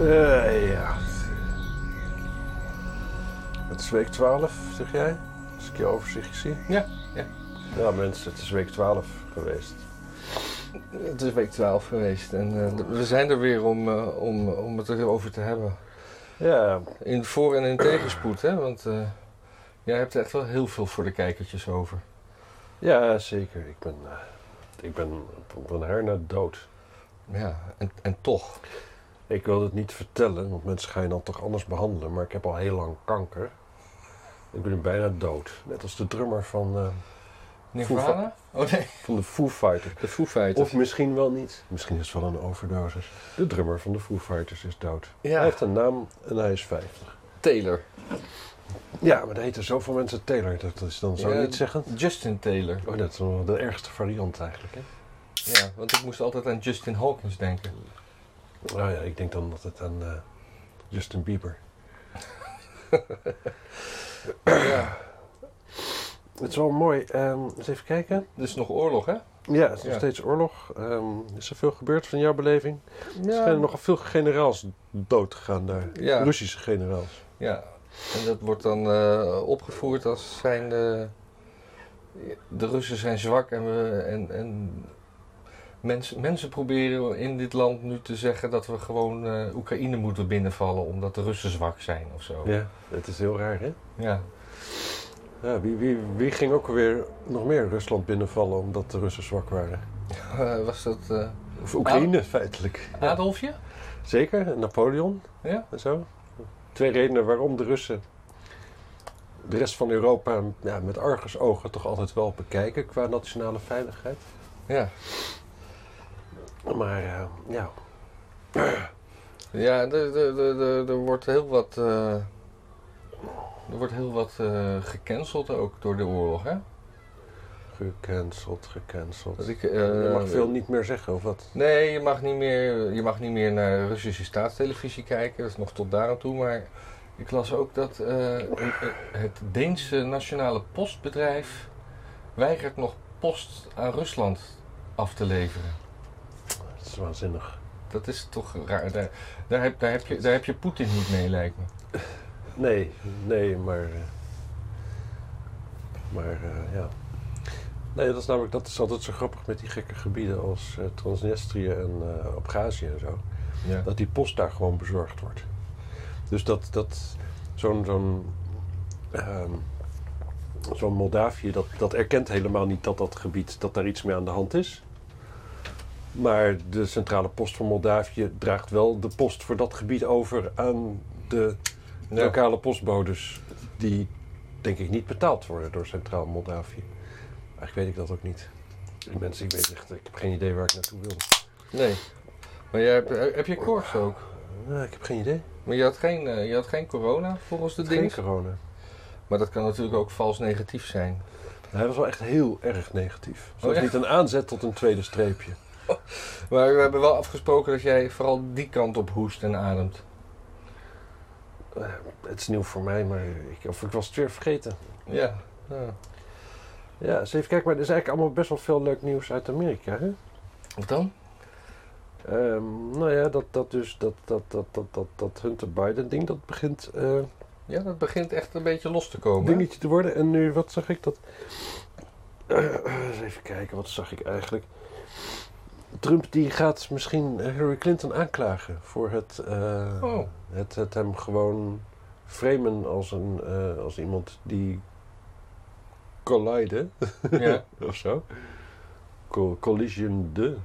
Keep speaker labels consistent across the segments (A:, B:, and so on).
A: Eh, ja. Het is week 12, zeg jij? Als ik je overzichtje zie.
B: Ja, ja.
A: Ja, mensen, het is week 12 geweest.
B: Het is week 12 geweest en eh, d- we zijn er weer om, eh, om, om het erover te hebben.
A: Ja,
B: In voor- en in tegenspoed, hè? Want eh, jij hebt er echt wel heel veel voor de kijkertjes over.
A: ja zeker. Ik ben, eh, ik ben op- op een haar na dood.
B: Ja, en, en toch.
A: Ik wil het niet vertellen, want mensen gaan je dan toch anders behandelen. Maar ik heb al heel lang kanker. Ik ben nu bijna dood. Net als de drummer van, eh,
B: Nirvana? Oh nee,
A: van de Foo Fighters.
B: de Foo Fighters.
A: Of misschien wel niet. Misschien is het wel een overdosis. De drummer van de Foo Fighters is dood. Hij
B: ja,
A: heeft een naam en hij is 50.
B: Taylor.
A: Ja, maar er heten zoveel mensen Taylor. Dat is dan zo
B: Ja,
A: niet zeggen.
B: Justin Taylor.
A: Oh, dat is wel de ergste variant eigenlijk. Hè?
B: Ja, want ik moest altijd aan Justin Hawkins denken.
A: Nou ja, ik denk dan dat het aan eh, Justin Bieber.
B: Ja,
A: Het is wel mooi. ehm, eens even kijken.
B: er is Dus nog oorlog, hè?
A: Ja, het is nog
B: Ja.
A: steeds oorlog. Ehm, is er veel gebeurd van jouw beleving? Er schijnen nogal veel generaals dood gegaan daar.
B: Ja.
A: Russische generaals.
B: Ja, en dat wordt dan eh, opgevoerd als zijn de, de Russen zijn zwak en, we, en, en mensen, mensen proberen in dit land nu te zeggen dat we gewoon eh, Oekraïne moeten binnenvallen omdat de Russen zwak zijn of zo.
A: Ja, het is heel raar, hè?
B: Ja.
A: Ja, wie, wie, wie ging ook alweer nog meer Rusland binnenvallen omdat de Russen zwak waren?
B: Eh, was dat eh,
A: Of Oekraïne feitelijk. Ja.
B: Adolfje?
A: Zeker, en Napoleon
B: Ja?
A: en zo. Twee redenen waarom de Russen de rest van Europa ja, met argusogen toch altijd wel bekijken qua nationale veiligheid.
B: Ja.
A: Maar eh, ja,
B: Ja, er, er, er, er- er wordt heel wat, eh, er wordt heel wat eh, gecanceld ook door de oorlog, hè?
A: gecanceld, gecanceld.
B: Dat ik,
A: Je
B: eh,
A: mag veel niet meer zeggen, of wat?
B: Nee, je mag niet meer, je mag niet meer naar Russische staatstelevisie kijken. Dat is nog tot daar aan toe. Maar ik las ook dat eh, het Deense nationale postbedrijf weigert nog post aan Rusland af te leveren.
A: Dat is waanzinnig.
B: Dat is toch raar. Daar, daar, heb, daar, heb, je, daar heb je Poetin niet mee, lijkt me.
A: Nee, nee, maar... eh, maar eh, ja. Nee, dat is namelijk dat is altijd zo grappig met die gekke gebieden als eh, Transnistrië en eh, Abhazie en zo.
B: Ja.
A: dat die post daar gewoon bezorgd wordt. Dus dat, dat zo'n zo'n ehm, zo'n Moldavië, dat, dat erkent helemaal niet dat dat gebied, dat daar iets mee aan de hand is. Maar de centrale post van Moldavië draagt wel de post voor dat gebied over aan de
B: Ja.
A: lokale postbodes. Die denk ik niet betaald worden door Centraal Moldavië. Eigenlijk weet ik dat ook niet. Mensen, ik weet echt, ik heb geen idee waar ik naartoe wil.
B: Nee. Maar jij hebt, eh, heb je koorts ook?
A: Nou, ik heb geen idee.
B: Maar je had geen, eh, je had geen corona volgens de
A: Geen
B: ding.
A: corona.
B: Maar dat kan natuurlijk ook vals negatief zijn.
A: Hij was wel echt heel erg negatief. Het
B: Oh,
A: was
B: echt?
A: niet een aanzet tot een tweede streepje.
B: Maar we hebben wel afgesproken dat jij vooral die kant op hoest en ademt.
A: Het is nieuw voor mij, maar ik, of ik was het weer vergeten.
B: Ja. ja.
A: Ja, eens even kijken, maar er is eigenlijk allemaal best wel veel leuk nieuws uit Amerika. Hè?
B: Wat dan?
A: Ehm, nou ja, dat, dat dus, dat, dat, dat, dat, dat, dat Hunter Biden ding, dat begint eh,
B: Ja, dat begint echt een beetje los te komen. hè?
A: dingetje te worden. En nu, wat zag ik dat? Eh, eh, eens even kijken, wat zag ik eigenlijk? Trump die gaat misschien Hillary Clinton aanklagen voor het... eh,
B: Oh,
A: Het, het hem gewoon framen als, een, eh, als iemand die collide
B: ja.
A: of zo. Co collisionde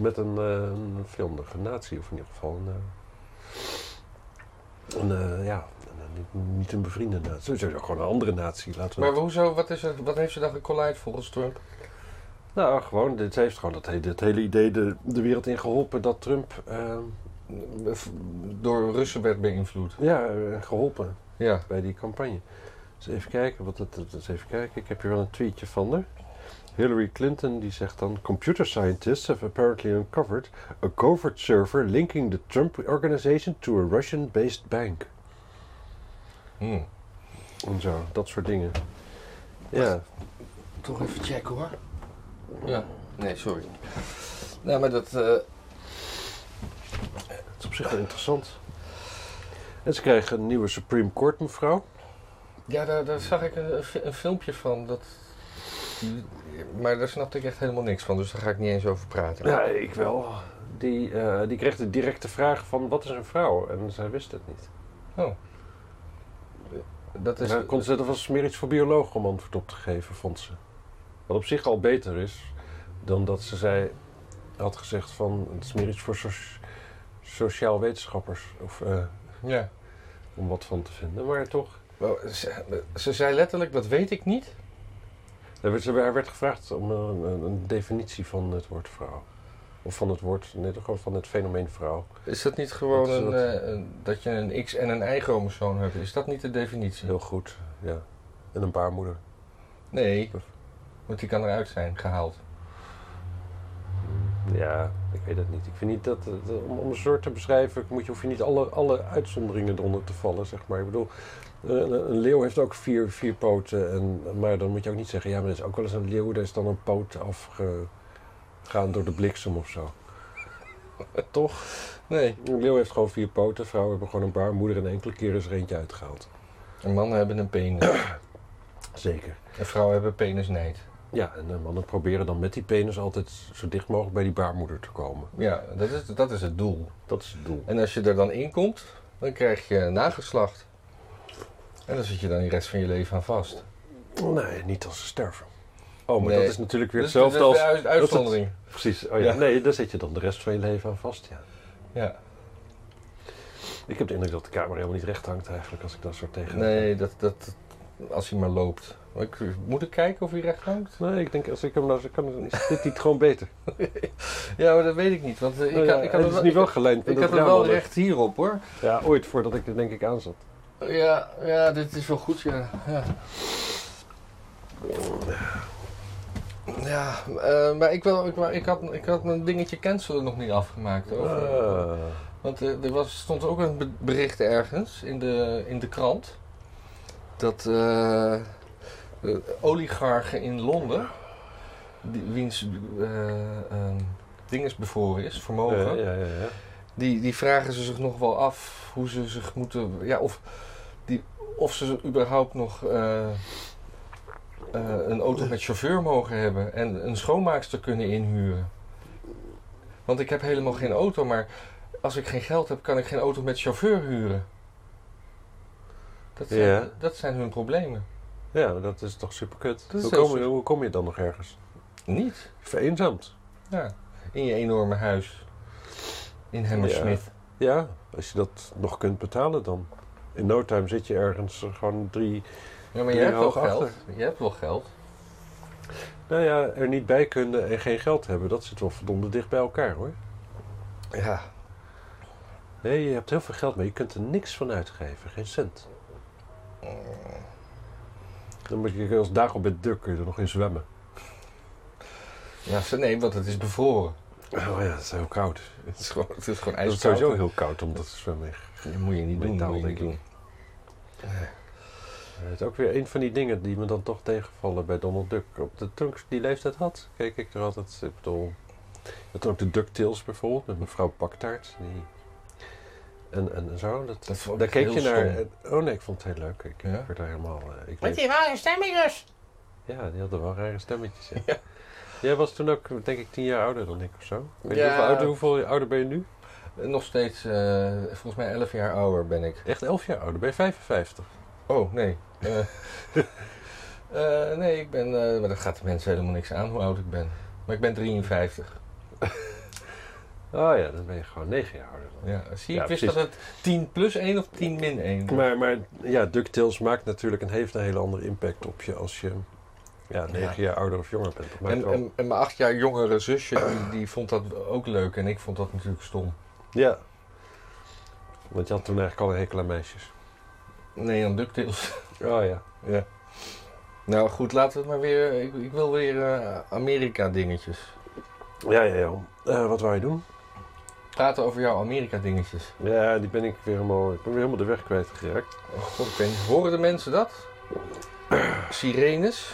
A: met een, eh een vijandige natie, of in ieder geval een. eh, een eh, ja, een- niet, niet een bevriende natie. Sowieso gewoon een andere natie, laten we
B: Maar hoezo, wat, is er, wat heeft ze dan gecollide volgens Trump?
A: Nou, gewoon, dit heeft gewoon dat, he- dit hele idee de, de wereld in geholpen dat Trump. eh,
B: Door Russen werd beïnvloed.
A: ja, eh, geholpen.
B: Ja.
A: bij die campagne. Dus even kijken, wat het, het is even kijken. Ik heb hier wel een tweetje van haar. Hillary Clinton die zegt dan: Computer scientists have apparently uncovered a covert server linking the Trump organization to a Russian-based bank.
B: Hm.
A: En zo, dat soort dingen. Ja,
B: Toch even checken hoor. Ja. Nee, sorry. Nou, maar dat... eh,
A: het is op zich wel interessant. En ze kregen een nieuwe Supreme Court mevrouw.
B: Ja, daar, daar zag ik een, een fi- een filmpje van. Dat... Maar daar snapte ik echt helemaal niks van, dus daar ga ik niet eens over praten.
A: Ja, ik wel. Die, eh, die kreeg de directe vraag van wat is een vrouw? En zij wist het niet.
B: Dat is,
A: En Daar kon ze er was meer iets voor biologen om antwoord op te geven, vond ze. Wat op zich al beter is dan dat ze zei, had gezegd van het is meer iets voor soci- sociaal wetenschappers. Of, eh,
B: ja.
A: om wat van te vinden, maar toch.
B: Wel, Oh, Ze, ze zei letterlijk, dat weet ik niet.
A: Er werd, ze- er werd gevraagd om eh, een, een, een definitie van het woord vrouw. Of van het woord, nee, toch gewoon van het fenomeen vrouw.
B: Is dat niet gewoon
A: Dat is
B: een,
A: wat-
B: eh, een- dat je een X en een Y-chromosoom hebt? Is dat niet de definitie?
A: Heel goed, ja. En een baarmoeder.
B: Nee, want die kan eruit zijn gehaald.
A: Ja, ik weet het niet. Ik vind niet dat, dat- om, om een soort te beschrijven, moet je, hoef je niet alle, alle uitzonderingen eronder te vallen, zeg maar. Ik bedoel, eh, een, een leeuw heeft ook vier, vier poten, en, maar dan moet je ook niet zeggen, ja, maar dat is ook wel eens een leeuw, daar is dan een poot afgegaan door de bliksem of zo. Toch?
B: Nee.
A: Een leeuw heeft gewoon vier poten, vrouwen hebben gewoon een baarmoeder en enkele keer is er eentje uitgehaald.
B: En mannen hebben een penis.
A: Zeker.
B: En vrouwen hebben penisnijd.
A: Ja, en de mannen proberen dan met die penis altijd zo dicht mogelijk bij die baarmoeder te komen.
B: Ja, dat is, dat is het doel.
A: Dat is het doel.
B: En als je er dan in komt, dan krijg je nageslacht. En dan zit je dan de rest van je leven aan vast.
A: Nee, niet als ze sterven. Oh, maar
B: Nee.
A: dat is natuurlijk weer
B: Dus
A: hetzelfde
B: dat is
A: als...
B: de uit- uitzondering.
A: Precies. Oh, ja.
B: Ja.
A: Nee, daar zit je dan de rest van je leven aan vast, ja.
B: Ja.
A: Ik heb de indruk dat de kamer helemaal niet recht hangt eigenlijk, als ik dat soort tegen...
B: Nee, dat, dat, als hij maar loopt. Maar ik, moet ik kijken of hij recht hangt?
A: Nee, ik denk, als ik hem nou zo kan, dan is dit niet gewoon beter.
B: Ja, maar dat weet ik niet. Want eh, ik,
A: Nou ja,
B: had, ik
A: het
B: had hem
A: is
B: wel,
A: niet wel
B: ik,
A: gelijnd met
B: ik had
A: het
B: hem wel
A: raam al.
B: recht hierop hoor.
A: Ja, ooit voordat ik er denk ik aan zat.
B: Oh, Ja, ja, dit is wel goed, ja. Ja, ja eh, maar ik, wil, ik, wou- ik, had, ik had mijn dingetje cancelen nog niet afgemaakt. Over,
A: Ah.
B: Want eh, er was, stond ook een be- bericht ergens in de, in de krant. Dat eh, eh, oligarchen in Londen, die, wiens eh, ehm, ding is bevroren is, vermogen.
A: Ja, Eh, ja, ja, ja.
B: Die, die vragen ze zich nog wel af hoe ze zich moeten. Ja, of, die, of ze überhaupt nog eh, eh, een auto met chauffeur mogen hebben en een schoonmaakster kunnen inhuren. Want ik heb helemaal geen auto, maar als ik geen geld heb, kan ik geen auto met chauffeur huren. Dat zijn,
A: Ja.
B: dat zijn hun problemen.
A: Ja, maar dat is toch super kut.
B: Dat is
A: Hoe
B: heel
A: kom, je, hoe kom je dan nog ergens?
B: Niet.
A: Vereenzaamd.
B: Ja. In je enorme huis. In Hammersmith.
A: Ja, als je dat nog kunt betalen dan. In no time zit je ergens eh, gewoon drie...
B: Ja, maar je
A: Ja,
B: hebt wel
A: hoog
B: geld.
A: achter.
B: Je hebt wel geld.
A: Nou ja, er niet bij kunnen en geen geld hebben. Dat zit wel verdomde dicht bij elkaar hoor.
B: Ja.
A: Nee, je hebt heel veel geld, maar je kunt er niks van uitgeven. Geen cent. Dan moet je als Dagobert Duck kun je er nog in zwemmen.
B: Ja, ze- nee, want het is bevroren.
A: Oh ja, dat is heel koud.
B: Het is gewoon, het is gewoon
A: Het is
B: ijskoud.
A: sowieso heel koud om dat te zwemmen.
B: Dat moet je niet doen.
A: Metaal,
B: moet je niet
A: denk
B: doen.
A: Het is ook weer een van die dingen die me dan toch tegenvallen bij Donald Duck. Op de, toen ik die leeftijd had, keek ik er altijd... Ik bedoel, je had ook de DuckTales bijvoorbeeld, met mevrouw Baktaart. Die, en, en zo. Dat,
B: Dat vond ik
A: daar keek je
B: heel
A: naar...
B: stom.
A: Oh nee, ik vond het heel leuk. Ik,
B: Ja?
A: werd daar helemaal... eh, Ik
C: Met
A: leef-
C: die rare dus. stemmetjes.
A: ja, die hadden wel rare stemmetjes. Ja. Jij was toen ook, denk ik, tien jaar ouder dan ik of zo. Ik Weet je
B: Ja.
A: hoeveel, ouder, hoeveel ouder ben je nu?
B: Nog steeds, eh, volgens mij 11 jaar ouder ben ik.
A: Echt elf jaar ouder. Ben je 55?
B: Oh, nee. Eh, eh, nee, ik ben... eh, maar dat gaat de mensen helemaal niks aan hoe oud ik ben. Maar ik ben 53.
A: Oh ja, dan ben je gewoon negen jaar ouder dan ik.
B: Ja, zie je,
A: Ja,
B: ik wist
A: precies.
B: dat het 10 plus 1 of 10 min 1 was.
A: Maar, maar ja, DuckTales maakt natuurlijk en heeft een hele andere impact op je als je ja, negen jaar ouder of jonger bent. Dat maakt
B: En,
A: wel-
B: en, en mijn acht jaar jongere zusje, die, die vond dat ook leuk. En ik vond dat natuurlijk stom.
A: Ja. Want je had toen eigenlijk al een hekel aan meisjes.
B: Nee, aan DuckTales.
A: Oh ja.
B: Ja. Nou goed, laten we het maar weer. Ik, ik wil weer eh, Amerika-dingetjes.
A: Ja, ja, ja. Eh, wat wou je doen?
B: Praten over jouw Amerika-dingetjes.
A: Ja, die ben ik weer helemaal, ik ben weer helemaal de weg kwijtgeraakt.
B: Oh god, ik weet niet. Horen de mensen dat? Sirenes?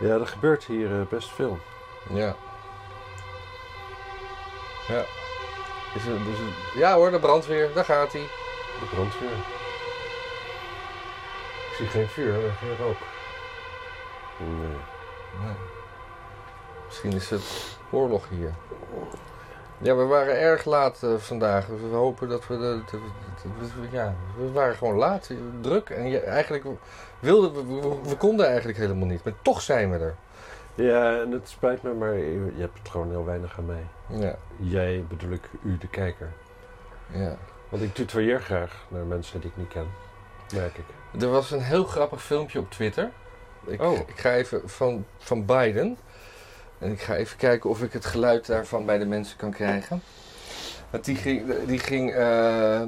A: Ja, er gebeurt hier eh, best veel.
B: Ja. Ja. Is er- dus een- ja hoor, de brandweer, daar gaat hij.
A: De brandweer. Ik zie geen vuur en geen rook. Nee.
B: Misschien is het oorlog hier. Ja, we waren erg laat eh, vandaag. Dus we hopen dat we, de, dat we- dat we- Ja, we waren gewoon laat, eh, druk. En je- eigenlijk wilden we, we... We konden eigenlijk helemaal niet. Maar toch zijn we er.
A: eh, Ja, en het spijt me, maar je je hebt het gewoon heel weinig aan mij.
B: Ja,
A: Jij bedoel ik, u de kijker.
B: ja.
A: Want ik tutoieer graag naar mensen die ik niet ken. Merk ik.
B: Er was een heel grappig filmpje op Twitter. Ik,
A: Oh.
B: ik ga even van, van Biden. En ik ga even kijken of ik het geluid daarvan bij de mensen kan krijgen. Want die ging, die ging eh,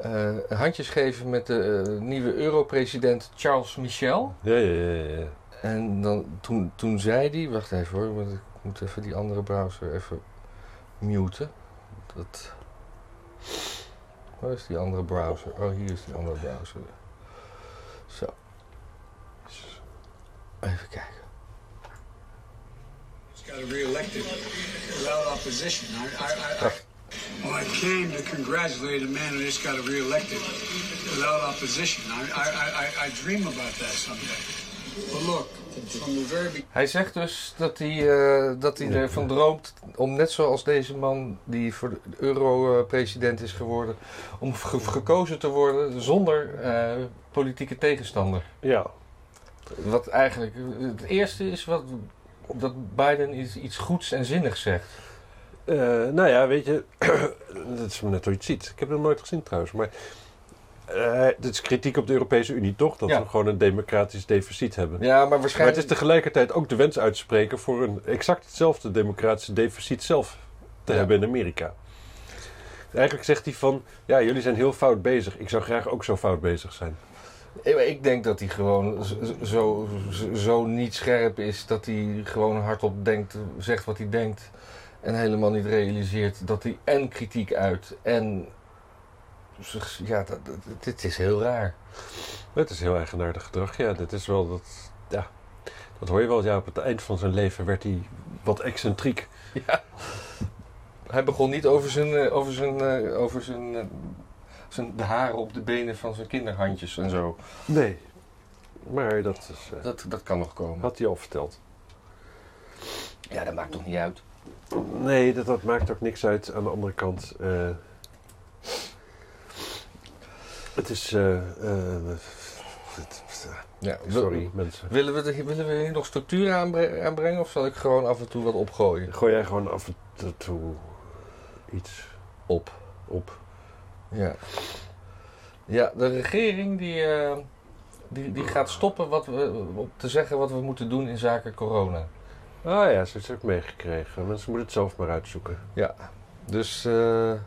B: eh, handjes geven met de eh, nieuwe Europresident Charles Michel.
A: Ja, ja, ja. ja.
B: En dan, toen, toen zei die, wacht even hoor, want ik moet even die andere browser even muten. Dat... Waar is die andere browser? Oh, hier is die andere browser. Zo. Even kijken.
C: Just got reelected without opposition. I, I, I, I, well, I came to congratulate a man who just got reelected without opposition. I, I, I, I dream about that someday. But look, from the very beginning,
B: Hij zegt dus dat hij, eh, dat hij
A: Ja.
B: ervan droomt om net zoals deze man die voor de euro-president is geworden, om ge- gekozen te worden zonder eh, politieke tegenstander.
A: Ja,
B: Wat eigenlijk het eerste is wat, dat Biden iets, iets goeds en zinnigs zegt.
A: Eh, nou ja, weet je, dat is net hoe je het ziet. Ik heb het nog nooit gezien trouwens, maar eh, dit is kritiek op de Europese Unie toch? Dat
B: Ja.
A: we gewoon een democratisch deficit hebben.
B: Ja, maar
A: Maar het is
B: waarschijnlijk.
A: tegelijkertijd ook de wens uitspreken voor een exact hetzelfde democratische deficit zelf te
B: Ja.
A: hebben in Amerika. Eigenlijk zegt hij van, ja, jullie zijn heel fout bezig. Ik zou graag ook zo fout bezig zijn.
B: Ik denk dat hij gewoon z- z- zo, z- zo niet scherp is dat hij gewoon hardop denkt, zegt wat hij denkt. En helemaal niet realiseert dat hij en kritiek uit en. zich- Ja, dat, dat- dit is heel raar.
A: Het is heel eigenaardig gedrag. Ja, dit is wel dat. Ja, dat hoor je wel. Ja, op het eind van zijn leven werd hij wat excentriek.
B: Hij begon niet over zijn, eh, over zijn, eh, over zijn, eh, zijn de haren op de benen van zijn kinderhandjes en zo.
A: Nee. Maar dat is, eh,
B: Dat, dat kan nog komen.
A: had hij al verteld.
B: Ja, dat maakt toch niet uit.
A: Nee, dat, dat maakt ook niks uit. Aan de andere kant. eh, het is. eh, eh, het-
B: Ja,
A: sorry, mensen.
B: Willen we, de- willen we hier nog structuur aanbre- aanbrengen of zal ik gewoon af en toe wat opgooien?
A: Gooi jij gewoon af en toe iets
B: Op.
A: op.
B: Ja, ja de regering die, eh, die, die gaat stoppen wat we, op te zeggen wat we moeten doen in zaken corona.
A: Ah ja, ze heeft het ook meegekregen. Mensen moeten het zelf maar uitzoeken.
B: Dus eh, de,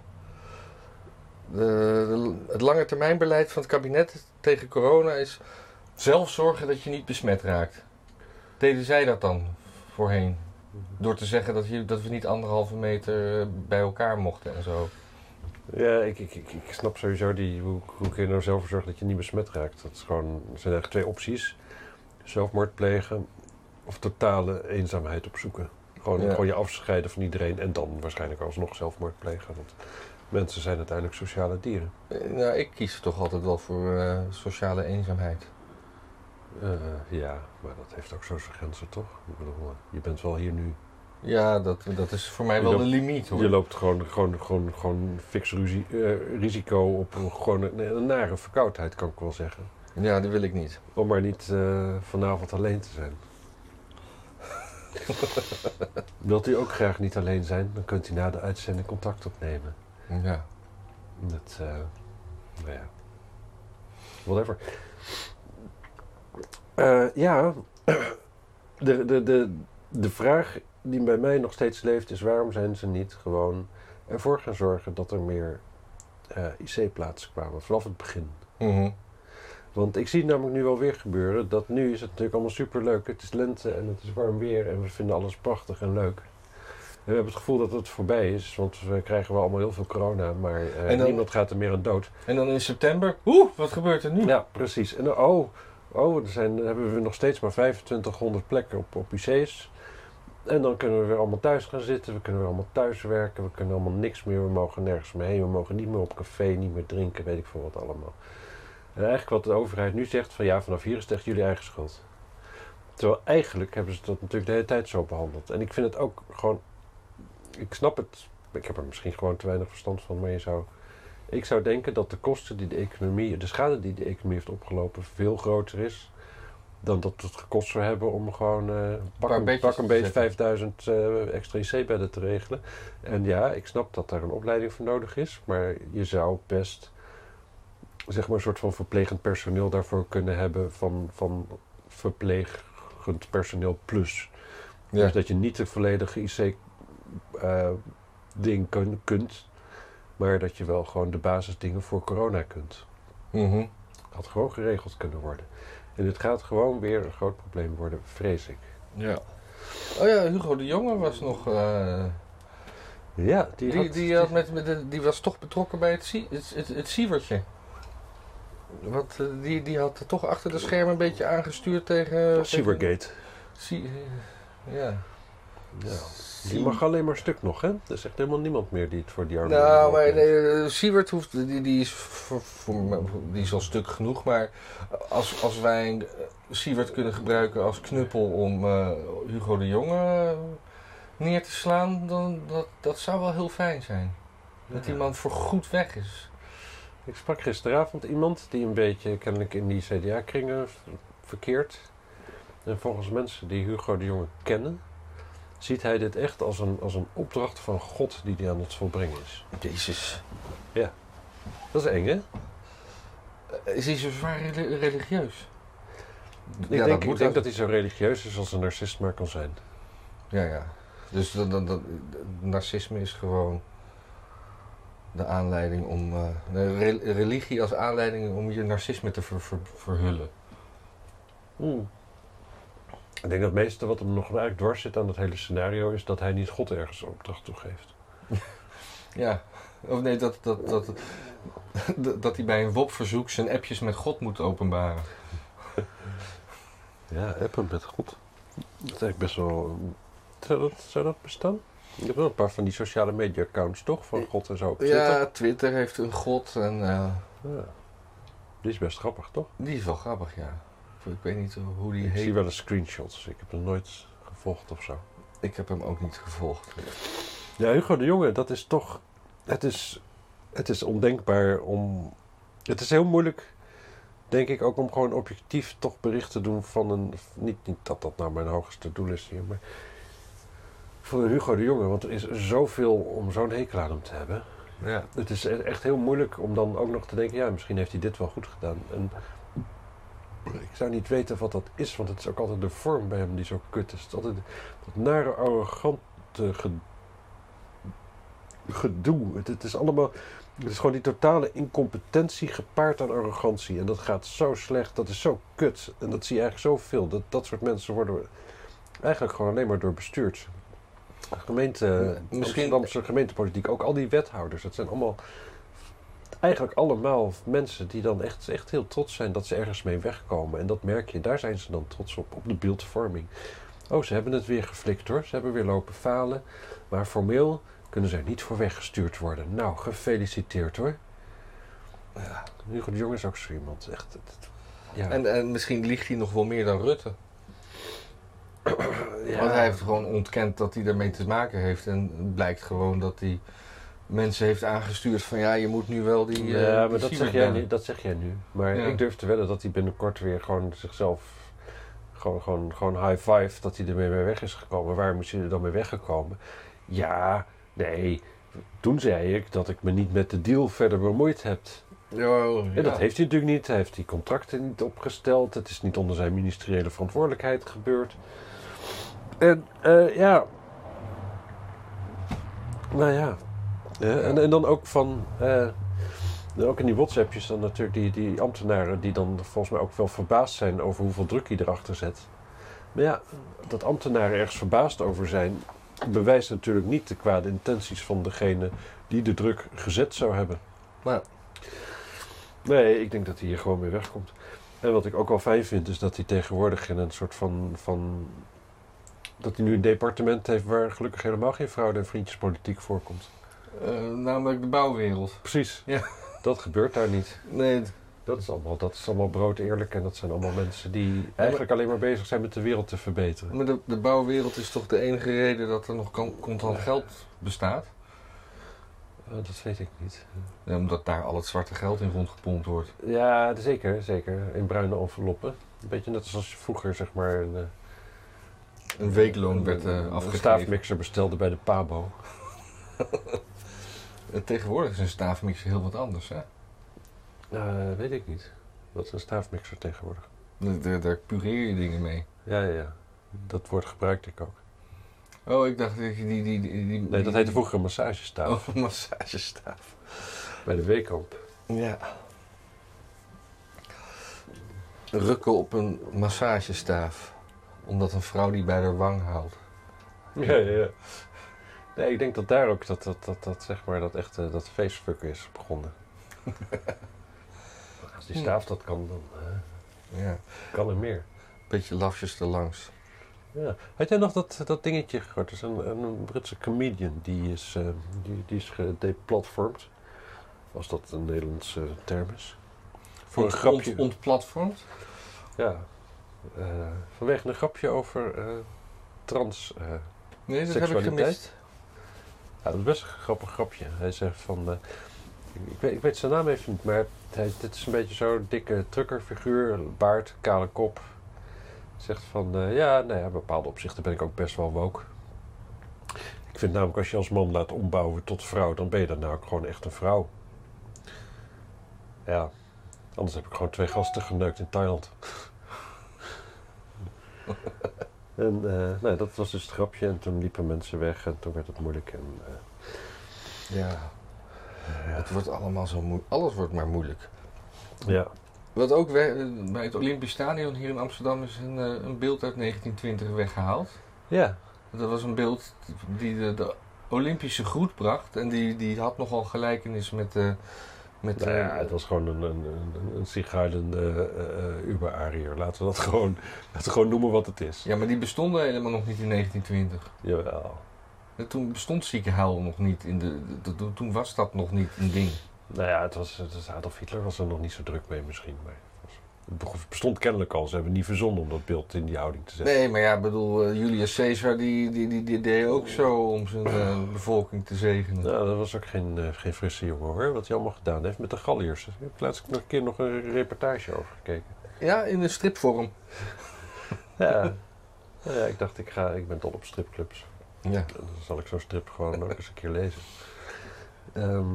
B: de- het lange termijnbeleid van het kabinet tegen corona is zelf zorgen dat je niet besmet raakt. Deden zij dat dan voorheen? Door te zeggen dat, je, dat we niet anderhalve meter eh, bij elkaar mochten en zo.
A: Ja, ik, ik, ik, ik snap sowieso die, hoe, hoe kun je nou zelf voor zorgen dat je niet besmet raakt. Dat is gewoon, er zijn eigenlijk twee opties. Zelfmoord plegen of totale eenzaamheid opzoeken. Gewoon,
B: Ja.
A: gewoon je afscheiden van iedereen en dan waarschijnlijk alsnog zelfmoord plegen. Want mensen zijn uiteindelijk sociale dieren.
B: Eh, Nou, ik kies toch altijd wel voor eh, sociale eenzaamheid.
A: Eh, ja, maar dat heeft ook zo zijn grenzen, toch? Ik bedoel, eh, je bent wel hier nu.
B: Ja, dat, dat is voor mij
A: Je
B: wel de
A: loopt-
B: limiet hoor.
A: Je loopt gewoon, gewoon, gewoon, gewoon fix ruzie- eh, risico op gewoon een, een nare verkoudheid, kan ik wel zeggen.
B: Ja, dat wil ik niet.
A: Om maar niet eh, vanavond alleen te zijn. Wilt u ook graag niet alleen zijn, dan kunt u na de uitzending contact opnemen.
B: Ja.
A: Met, eh, nou ja, whatever. Eh, ja, de, de, de, de vraag die bij mij nog steeds leeft is waarom zijn ze niet gewoon ervoor gaan zorgen dat er meer eh, IC-plaatsen kwamen vanaf het begin.
B: Mhm.
A: Want ik zie het namelijk nu wel weer gebeuren dat nu is het natuurlijk allemaal superleuk. Het is lente en het is warm weer en we vinden alles prachtig en leuk. En we hebben het gevoel dat het voorbij is, want we krijgen wel allemaal heel veel corona, maar eh,
B: En dan-
A: niemand gaat er meer aan dood.
B: En dan in september, oeh, wat gebeurt er nu?
A: Ja, precies. En dan- oh, oh er zijn, hebben we nog steeds maar 2500 plekken op, op IC's. En dan kunnen we weer allemaal thuis gaan zitten, we kunnen weer allemaal thuis werken, we kunnen allemaal niks meer, we mogen nergens meer heen, we mogen niet meer op café, niet meer drinken, weet ik veel wat allemaal. En eigenlijk wat de overheid nu zegt van ja, vanaf hier is het echt jullie eigen schuld. Terwijl eigenlijk hebben ze dat natuurlijk de hele tijd zo behandeld. En ik vind het ook gewoon, ik snap het, ik heb er misschien gewoon te weinig verstand van, maar je zou, ik zou denken dat de kosten die de economie, de schade die de economie heeft opgelopen, veel groter is dan dat het gekost zou hebben om gewoon eh pak,
B: paar
A: een,
B: bedjes
A: pak een
B: te
A: beetje
B: zetten.
A: 5000 eh, extra IC-bedden te regelen. En ja, ik snap dat daar een opleiding voor nodig is, maar je zou best zeg maar een soort van verplegend personeel daarvoor kunnen hebben van, van verplegend personeel plus.
B: Ja.
A: Dus dat je niet de volledige IC-ding kun, kunt, maar dat je wel gewoon de basisdingen voor corona kunt.
B: Mhm.
A: Had gewoon geregeld kunnen worden. En het gaat gewoon weer een groot probleem worden, vrees ik.
B: ja. Oh ja, Hugo de Jonge was nog. eh,
A: Ja,
B: die,
A: die, eh,
B: die,
A: had,
B: had met, met de- die was toch betrokken bij het, sie- het, het, het sievertje. Want eh, die, die had toch achter de schermen een beetje aangestuurd tegen.
A: Cybergate.
B: Sie- eh, ja.
A: Ja. Die mag alleen maar stuk nog, hè? Er is echt helemaal niemand meer die het voor die armen...
B: Nou, maar
A: opneemt.
B: nee, Siewert hoeft, die, die, is voor, voor me- die is al stuk genoeg. Maar als, als wij een, eh, Siewert kunnen gebruiken als knuppel om eh, Hugo de Jonge eh, neer te slaan, dan dat, dat zou wel heel fijn zijn. Dat die
A: Ja.
B: man voorgoed weg is.
A: Ik sprak gisteravond iemand die een beetje kennelijk in die CDA-kringen v- verkeert. En volgens mensen die Hugo de Jonge kennen, ziet hij dit echt als een, als een opdracht van God die hij aan het volbrengen is.
B: Jezus.
A: Dat is eng, hè?
B: Eh, Is hij zo zwaar reli- religieus?
A: Ik denk, ik denk dat hij zo religieus is als een narcist maar kan zijn.
B: Ja, ja. Dus dat, dat, dat- narcisme is gewoon de aanleiding om. eh, de re- religie als aanleiding om je narcisme te ver- ver- verhullen.
A: Hmm. Ik denk dat het meeste wat hem nog eigenlijk dwars zit aan dat hele scenario is dat hij niet God ergens een opdracht toegeeft.
B: Ja. Of nee, dat, dat, dat, dat, dat hij bij een WOP-verzoek zijn appjes met God moet openbaren.
A: Ja, appen met God. Dat is eigenlijk best wel. Zou dat, zou dat bestaan? Je hebt wel een paar van die sociale media accounts toch? Van God en zo op Twitter.
B: Ja, Twitter heeft een God en. eh,
A: Ja. Die is best grappig, toch?
B: die is wel grappig, ja. Ik- Ik weet niet hoe die
A: Ik zie
B: heet.
A: wel eens screenshots. Ik heb hem nooit gevolgd of zo.
B: Ik heb hem ook niet gevolgd.
A: Ja, Hugo de Jonge, dat is toch... Het is, het is ondenkbaar om... Het is heel moeilijk, denk ik, ook om gewoon objectief toch bericht te doen van een... Niet, niet dat dat nou mijn hoogste doel is hier, maar... Van een Hugo de Jonge, want er is zoveel om zo'n hekel aan hem te hebben.
B: Ja.
A: Het is e- echt heel moeilijk om dan ook nog te denken, ja, misschien heeft hij dit wel goed gedaan. En ik zou niet weten wat dat is, want het is ook altijd de vorm bij hem die zo kut is. Het is altijd dat nare, arrogante ge- gedoe. Het, het is allemaal, het is gewoon die totale incompetentie gepaard aan arrogantie. En dat gaat zo slecht, dat is zo kut. En dat zie je eigenlijk zoveel. Dat, dat soort mensen worden eigenlijk gewoon alleen maar door bestuurd. Gemeente,
B: Misschien-
A: Amsterdamse gemeentepolitiek, ook al die wethouders, dat zijn allemaal eigenlijk allemaal mensen die dan echt, echt heel trots zijn dat ze ergens mee wegkomen. En dat merk je, daar zijn ze dan trots op, op de beeldvorming. Oh, ze hebben het weer geflikt hoor, ze hebben weer lopen falen. Maar formeel kunnen ze er niet voor weggestuurd worden. Nou, gefeliciteerd hoor. Ja, Hugo de Jong is ook zo iemand. Echt, het- het- ja.
B: En, en misschien liegt hij nog wel meer dan Rutte.
A: ja.
B: Want hij heeft gewoon ontkend dat hij ermee te maken heeft. En het blijkt gewoon dat hij mensen heeft aangestuurd van ja, je moet nu wel die. eh,
A: ja,
B: die
A: maar dat
B: Siebert
A: zeg, jij
B: bellen.
A: nu, dat zeg jij nu. Maar
B: Ja.
A: ik durf te wedden dat hij binnenkort weer gewoon zichzelf... Gewoon, gewoon, gewoon high five dat hij ermee mee weg is gekomen. Waarom is hij er dan mee weggekomen? Ja, nee. Toen zei ik dat ik me niet met de deal verder bemoeid heb.
B: Oh,
A: En dat
B: ja.
A: heeft hij natuurlijk niet. Hij heeft die contracten niet opgesteld. Het is niet onder zijn ministeriële verantwoordelijkheid gebeurd. En eh, ja. Nou ja. Ja, En, en dan ook van. eh, ook in die WhatsAppjes dan natuurlijk die, die ambtenaren die dan volgens mij ook wel verbaasd zijn over hoeveel druk hij erachter zet. Maar ja, dat ambtenaren ergens verbaasd over zijn, bewijst natuurlijk niet de kwade intenties van degene die de druk gezet zou hebben.
B: Maar
A: Nee, ik denk dat hij hier gewoon mee wegkomt. En wat ik ook wel fijn vind, is dat hij tegenwoordig in een soort van, van Dat hij nu een departement heeft waar gelukkig helemaal geen fraude en vriendjespolitiek voorkomt.
B: Eh, namelijk de bouwwereld.
A: Precies.
B: Ja.
A: Dat gebeurt daar niet.
B: Nee,
A: Dat is allemaal, dat is allemaal brood eerlijk en dat zijn allemaal mensen die eigenlijk alleen maar bezig zijn met de wereld te verbeteren.
B: maar de, de bouwwereld is toch de enige reden dat er nog kan- contant geld bestaat?
A: Eh, dat weet ik niet.
B: Ja, omdat daar al het zwarte geld in rondgepompt wordt.
A: Ja, zeker, zeker. In bruine enveloppen. Een beetje net als als je vroeger zeg maar een, eh,
B: Een weekloon werd
A: een-
B: eh
A: een
B: afgegeven.
A: staafmixer bestelde bij de Pabo.
B: Eh, Tegenwoordig is een staafmix heel wat anders. Hè?
A: Eh, weet ik niet. Wat is een staafmixer tegenwoordig?
B: Daar- Daar, daar pureer je dingen mee.
A: Ja, ja, ja. Dat woord gebruikte ik ook.
B: Oh, ik dacht dat je die... die, die, die
A: Nee, dat heette vroeger een massagestaaf
B: Oh, een massagestaaf.
A: bij de Weekamp.
B: Ja. Rukken op een massagestaaf. Omdat een vrouw die bij haar wang houdt.
A: Ja, ja, ja. Nee, ik denk dat daar ook dat, dat, dat, dat, zeg maar, dat, echt, eh, dat facefucken is begonnen. Als die staaf dat kan, dan eh,
B: Ja.
A: kan er meer.
B: Beetje lafjes erlangs.
A: Ja. Had jij nog dat, dat dingetje gehoord? Er is een, een Britse comedian die is, eh die, die is gedeplatformd. Als dat een Nederlandse eh, term is. Voor een
B: Ont-
A: grapje.
B: ont- ontplatformd.
A: Ja. Eh, vanwege een grapje over eh, trans. eh,
B: Nee, dat heb ik
A: Seksualiteit?
B: gemist.
A: Ja, dat is best een grappig grapje. Hij zegt van. eh, ik, weet, ik weet zijn naam even niet, maar hij, dit is een beetje zo'n dikke truckerfiguur, baard, kale kop. Zegt van eh, ja, nou ja, in bepaalde opzichten ben ik ook best wel woke. Ik vind namelijk als je als man laat ombouwen tot vrouw, dan ben je daarna ook gewoon echt een vrouw. Ja, anders heb ik gewoon twee gasten geneukt in Thailand. en eh, nou, dat was dus het grapje en toen liepen mensen weg en toen werd het moeilijk. En, eh,
B: Ja. Het wordt allemaal zo moeilijk. Alles wordt maar moeilijk.
A: Ja,
B: Wat ook we- bij het Olympisch Stadion hier in Amsterdam is een, eh, een beeld uit 1920 weggehaald.
A: ja.
B: Dat was een beeld die de, de Olympische groet bracht. En die, die had nogal gelijkenis met... eh met
A: Nou ja
B: eh,
A: het was gewoon een, een, een, een sigaarlende eh, Uber-ariër. Laten we dat gewoon, laten we gewoon noemen wat het is.
B: ja, maar die bestonden helemaal nog niet in 1920.
A: Jawel.
B: En Toen bestond ziekenhuil nog niet. In de, de- de- toen was dat nog niet een ding.
A: Nou ja, het was, het was- Adolf Hitler was er nog niet zo druk mee misschien. Maar het, was- het bego- bestond kennelijk al. Ze hebben niet verzonnen om dat beeld in die houding te zetten.
B: Nee, maar ja, ik bedoel, eh, Julius Caesar die, die, die, die deed ook zo om zijn eh, bevolking te zegenen.
A: Nou, dat was ook geen, eh, geen frisse jongen hoor. Wat hij allemaal gedaan heeft met de Galliërs. Daar heb ik laatst nog een keer nog een reportage over gekeken.
B: Ja, in een stripvorm.
A: Ja. Nou ja, ik dacht, ik, ga, ik ben dol op stripclubs.
B: Ja.
A: Dan zal ik zo'n strip gewoon ook eens een keer lezen. Ehm,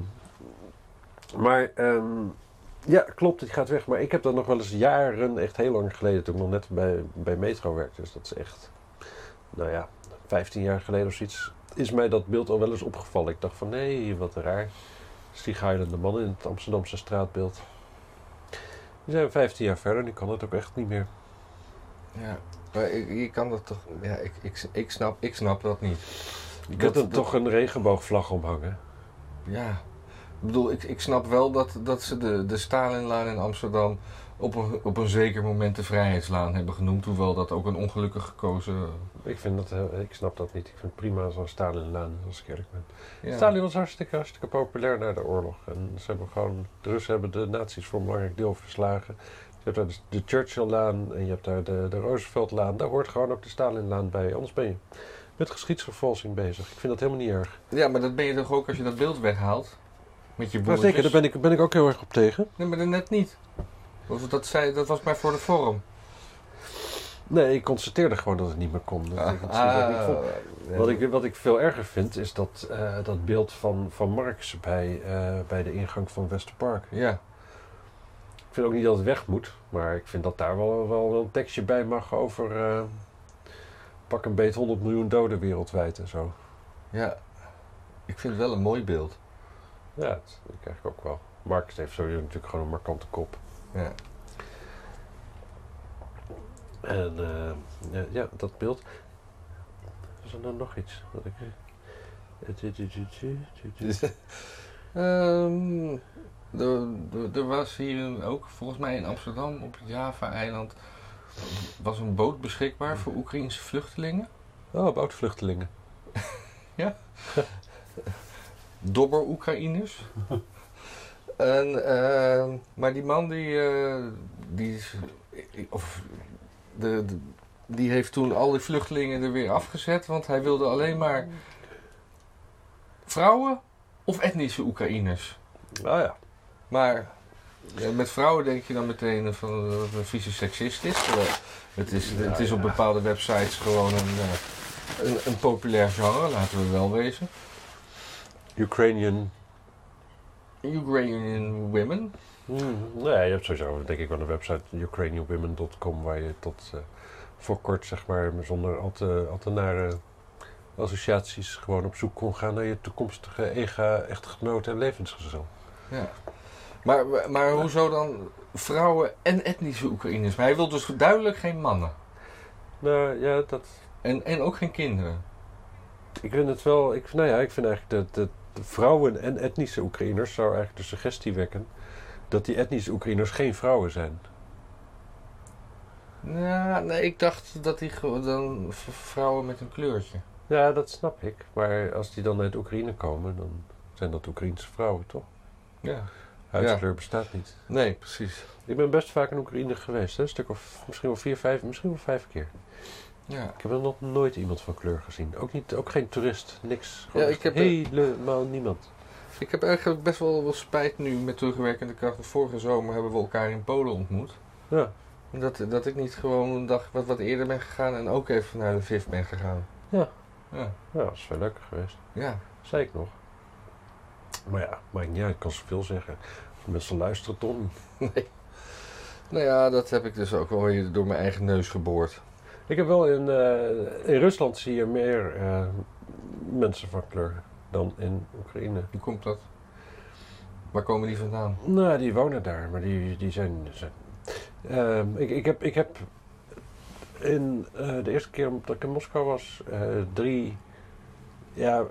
A: maar ehm, ja, klopt, het gaat weg. Maar ik heb dat nog wel eens jaren, echt heel lang geleden, toen ik nog net bij, bij Metro werkte. Dus dat is echt, nou ja, 15 jaar geleden of zoiets, is mij dat beeld al wel eens opgevallen. Ik dacht van, nee, wat raar. Sieg Heilende man in het Amsterdamse straatbeeld. We zijn 15 jaar verder, nu kan het ook echt niet meer.
B: ja. Maar ik- je kan dat toch... Ja, ik, ik, ik, snap, ik snap dat niet.
A: Je
B: Dat-
A: kunt er
B: dat-
A: toch een regenboogvlag omhangen.
B: Ja. Ik bedoel, ik, ik snap wel dat, dat ze de, de Stalinlaan in Amsterdam op een, op een zeker moment de Vrijheidslaan hebben genoemd. Hoewel dat ook een ongelukkig gekozen...
A: Ik, vind dat, eh, ik snap dat niet. Ik vind het prima zo'n Stalinlaan, als ik eerlijk ben.
B: Ja.
A: Stalin was hartstikke, hartstikke populair na de oorlog. En ze hebben gewoon, de Russen hebben de nazi's voor een belangrijk deel verslagen. Je hebt daar dus de- de Churchill-laan en je hebt daar de, de Roosevelt-laan. Daar hoort gewoon ook de Stalin-laan bij. Anders ben je met geschiedsvervalsing bezig. Ik vind dat helemaal niet erg.
B: ja, maar dat ben je toch ook als je dat beeld weghaalt? Met je
A: Maar
B: boertjes?
A: zeker, daar ben ik, ben ik ook heel erg op tegen.
B: Nee, maar dat net niet. Want dat, zei, dat was maar voor de vorm.
A: Nee, ik constateerde gewoon dat het niet meer kon. Dat ik het zielig niet vond. Ah, Wat ik, wat ik veel erger vind, is dat, eh, dat beeld van, van Marx bij, eh, bij de ingang van Westerpark.
B: Ja.
A: Ik vind ook niet dat het weg moet, maar ik vind dat daar wel, wel een tekstje bij mag over. eh, pak een beet 100 miljoen doden wereldwijd en zo.
B: ja. Ik vind het wel een mooi beeld.
A: Ja, dat vind ik eigenlijk ook wel. Marx heeft sowieso natuurlijk gewoon een markante kop.
B: Ja.
A: En eh, eh, ja, dat beeld. Was er nou nog iets? Wat ik.
B: Ehm, er, er- er was hier ook, volgens mij in Amsterdam, op het Java-eiland, was een boot beschikbaar voor Oekraïense vluchtelingen.
A: Oh, about vluchtelingen.
B: dobber Oekraïners. en, eh, maar die man die, eh, die, is- of, de, de- die heeft toen al die vluchtelingen er weer afgezet, want hij wilde alleen maar vrouwen of etnische Oekraïners.
A: Ah ja.
B: Maar ja, met vrouwen denk je dan meteen van eh, dat het een vieze seksist is. terwijl Het is, het is op bepaalde websites gewoon een, eh, een, een populair genre, laten we wel wezen.
A: Ukrainian.
B: Ukrainian women.
A: Nee, Hmm. je hebt sowieso denk ik wel een website, ukrainianwomen.com, waar je tot eh, voor kort, zeg maar, zonder al te, al te nare associaties gewoon op zoek kon gaan naar je toekomstige ega, echtgenoot en levensgezel.
B: Ja. Maar, maar hoezo dan vrouwen en etnische Oekraïners? Maar hij wil dus duidelijk geen mannen.
A: Nou ja, dat,
B: En, en ook geen kinderen.
A: Ik vind het wel, ik, nou ja, ik vind eigenlijk dat, dat de vrouwen en etnische Oekraïners zou eigenlijk de suggestie wekken dat die etnische Oekraïners geen vrouwen zijn.
B: Ja, nee, ik dacht dat die gewoon dan v- vrouwen met een kleurtje.
A: Ja, dat snap ik. Maar als die dan uit Oekraïne komen, dan zijn dat Oekraïense vrouwen, toch?
B: Ja.
A: Huidskleur bestaat niet.
B: Nee, precies.
A: Ik ben best vaak in Oekraïne geweest, hè? een stuk of misschien wel vier, vijf, misschien wel vijf keer.
B: Ja.
A: Ik heb er nog nooit iemand van kleur gezien. Ook, niet, ook geen toerist, niks. Gewoon
B: Ja,
A: echt
B: ik heb-
A: helemaal niemand.
B: Ik heb eigenlijk best wel, wel spijt nu met terugwerkende kracht. Want Vorige zomer hebben we elkaar in Polen ontmoet.
A: Ja.
B: Dat, dat ik niet gewoon een dag wat, wat eerder ben gegaan en ook even naar de VIF ben gegaan.
A: Ja.
B: Ja.
A: ja, dat is veel leuker geweest.
B: Ja.
A: Zei ik nog. Maar ja, maakt niet uit. Ik kan zoveel zeggen. Als Mensen luisteren toch niet.
B: Nou ja, dat heb ik dus ook wel weer door mijn eigen neus geboord.
A: Ik heb wel in... eh, in Rusland zie je meer eh, mensen van kleur dan in Oekraïne.
B: Hoe komt dat? Waar komen die vandaan?
A: Nou, die wonen daar, maar die, die zijn... zijn- Ehm, ik, ik, heb, ik heb in eh, de eerste keer dat ik in Moskou was, eh, drie... Ja,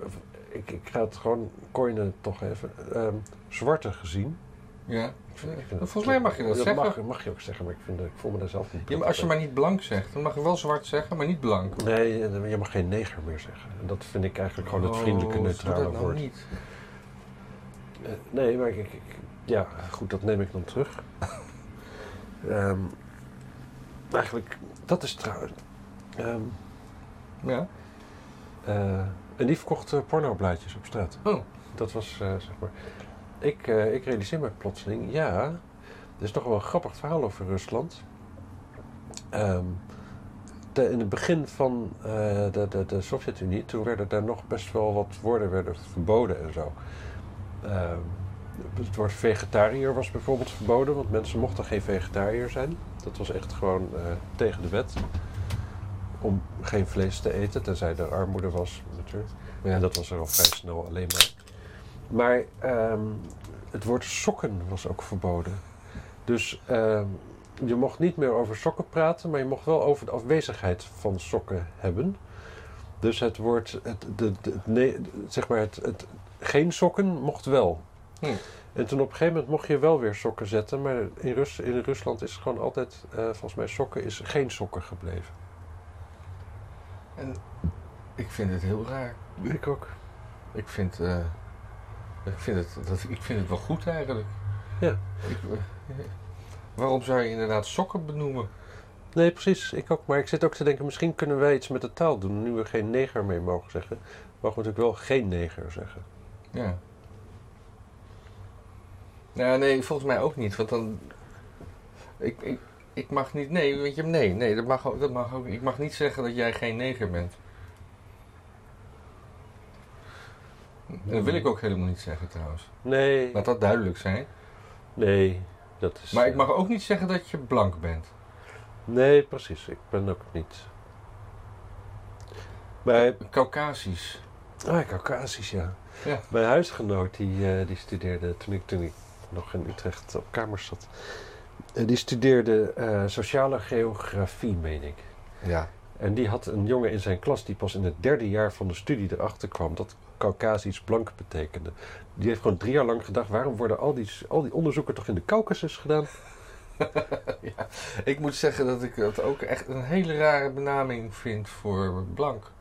A: ik, ik ga het gewoon coinen toch even. Ehm, zwarte gezien.
B: Ja.
A: Ik vind- ik vind het-
B: Volgens mij mag je dat, zeggen.
A: Mag, mag je ook zeggen, maar ik, vind, ik voel me daar zelf niet
B: Ja, maar als je maar niet blank zegt, dan mag je wel zwart zeggen, maar niet blank.
A: Nee, je mag geen neger meer zeggen. En dat vind ik eigenlijk gewoon het vriendelijke,
B: Oh,
A: neutrale
B: doe dat nou
A: woord.
B: Niet.
A: Eh, nee, maar ik, ik- ik- Ja, goed, dat neem ik dan terug. Ehm, eigenlijk, dat is trouwens... ehm,
B: Ja.
A: eh, en die verkocht eh, pornoblaadjes op straat.
B: Oh.
A: Dat was, eh, zeg maar... Ik, eh, ik realiseer me plotseling, ja... Er is toch wel een grappig verhaal over Rusland. Ehm, te- in het begin van eh, de, de, de Sovjet-Unie... toen werden daar nog best wel wat woorden werden verboden en zo. Ehm, het woord vegetariër was bijvoorbeeld verboden... want mensen mochten geen vegetariër zijn. Dat was echt gewoon eh, tegen de wet... om geen vlees te eten, tenzij er armoede was natuurlijk.
B: Ja.
A: En dat was er al vrij snel alleen maar. Maar ehm, het woord sokken was ook verboden. Dus ehm, je mocht niet meer over sokken praten, maar je mocht wel over de afwezigheid van sokken hebben. Dus het woord, het, de, de- het nee, zeg maar, het, het, geen sokken mocht wel.
B: Hm.
A: En toen op een gegeven moment mocht je wel weer sokken zetten, maar in, Rus, in Rusland is het gewoon altijd, eh, volgens mij, sokken is geen sokken gebleven.
B: En ik vind het heel raar.
A: Ik ook.
B: Ik vind, eh, ik vind, het, dat, ik vind het wel goed eigenlijk.
A: Ja.
B: Ik, eh, waarom zou je inderdaad sokken benoemen?
A: Nee, precies. Ik ook. Maar ik zit ook te denken, misschien kunnen wij iets met de taal doen. Nu we geen neger meer mogen zeggen, mogen we natuurlijk wel geen neger zeggen.
B: Ja. Nou, nee, volgens mij ook niet. Want dan. Ik, ik, ik mag niet. Nee, want je nee, nee, dat mag, ook, dat mag ook. Ik mag niet zeggen dat jij geen neger bent. En dat wil ik ook helemaal niet zeggen trouwens.
A: Nee.
B: Laat dat duidelijk zijn.
A: Nee, dat is...
B: Maar ik
A: eh,
B: mag ook niet zeggen dat je blank bent.
A: Nee, precies. Ik ben ook niet... Bij,
B: Caucasisch.
A: ah, Caucasisch, ja.
B: Ja.
A: Mijn huisgenoot, die, eh, die studeerde toen ik, toen ik nog in Utrecht op kamers zat. eh, die studeerde eh, sociale geografie, meen ik.
B: Ja.
A: En die had een jongen in zijn klas die pas in het derde jaar van de studie erachter kwam dat Caucasisch blank betekende. Die heeft gewoon drie jaar lang gedacht: waarom worden al die, al die onderzoeken toch in de Caucasus gedaan?
B: Ik moet zeggen dat ik dat ook echt een hele rare benaming vind voor blank.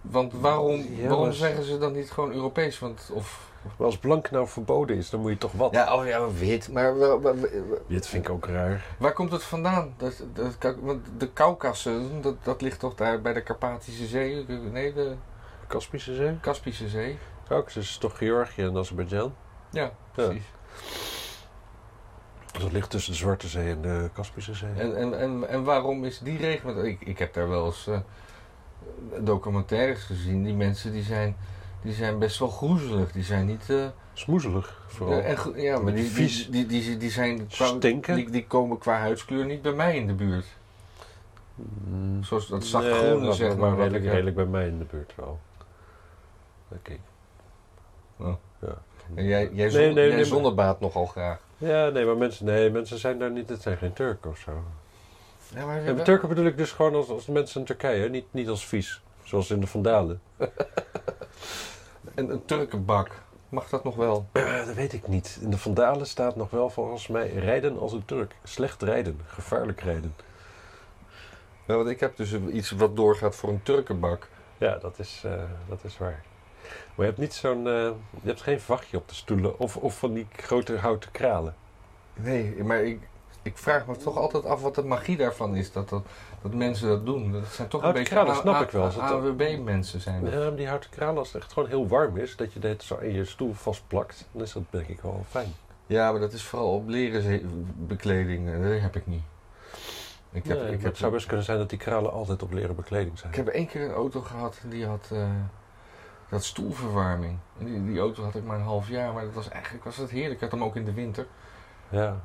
B: Want waarom,
A: Ja,
B: waarom
A: maar-
B: zeggen ze dan niet gewoon Europees? Want, of,
A: Maar als blank nou verboden is, dan moet je toch wat?
B: ja, oh ja, wit. Maar wa- wa- wa-
A: Dit vind ik ook raar.
B: waar komt het vandaan? Dat, dat, kan- want de Kaukassen, dat, dat ligt toch daar bij de Karpatische Zee? Nee, de
A: Kaspische Zee?
B: Kaspische Zee.
A: Caucasus is toch Georgië en Azerbeidzjan?
B: Ja, precies.
A: Dus dat ligt tussen de Zwarte Zee en de Kaspische Zee.
B: En, en, en, en waarom is die regio... want Ik, ik heb daar wel eens eh, documentaires gezien. Die mensen die zijn, die zijn best wel groezelig. Die zijn niet... eh,
A: Smoezelig vooral.
B: ja, en gro- ja, maar die,
A: Vies.
B: die, die, die, die zijn... qua-
A: Stinken.
B: Die, die komen qua huidskleur niet bij mij in de buurt.
A: Mm.
B: Zoals dat
A: Nee,
B: zachtgroene,
A: wat-
B: zeg
A: wat-
B: maar. wat
A: Redelijk,
B: ik-
A: redelijk bij mij in de buurt wel. Denk ik.
B: Oh.
A: Ja.
B: En jij, jij, zon,
A: Nee, nee,
B: jij
A: nee,
B: zonnebaat nogal graag.
A: Ja, nee, maar mensen, nee, mensen zijn daar niet, het zijn geen Turken of zo.
B: Ja, maar,
A: En Turken bedoel ik dus gewoon als, als mensen in Turkije, hè? niet, niet als vies. Zoals in de Vandalen.
B: een, een Turkenbak. Mag dat nog wel?
A: Eh, dat weet ik niet. In de Vandalen staat nog wel volgens mij rijden als een Turk. Slecht rijden, gevaarlijk rijden.
B: Ja, want ik heb dus iets wat doorgaat voor een Turkenbak.
A: Ja, dat is, eh, dat is waar. Maar je hebt niet zo'n, eh, je hebt geen vachtje op de stoelen of, of van die grote houten kralen.
B: Nee, maar ik, ik vraag me toch altijd af wat de magie daarvan is. Dat, dat, dat mensen dat doen. Dat zijn toch
A: Oh,
B: een
A: die
B: beetje
A: kralen snap ik wel. Is dat-
B: AWB-mensen zijn. dat.
A: Ja, maar die houten kralen, als het echt gewoon heel warm is, dat je dit zo in je stoel vastplakt, dan is dat denk ik wel fijn.
B: Ja, maar dat is vooral op leren ze- bekleding. eh, Dat heb ik niet. Ik heb,
A: Ja,
B: ik
A: maar
B: heb,
A: het zou best kunnen zijn dat die kralen altijd op leren bekleding zijn.
B: ik heb één keer een auto gehad en die had eh, dat stoelverwarming. En die, die auto had ik maar een half jaar, maar dat was eigenlijk was dat heerlijk. Ik had hem ook in de winter.
A: Ja.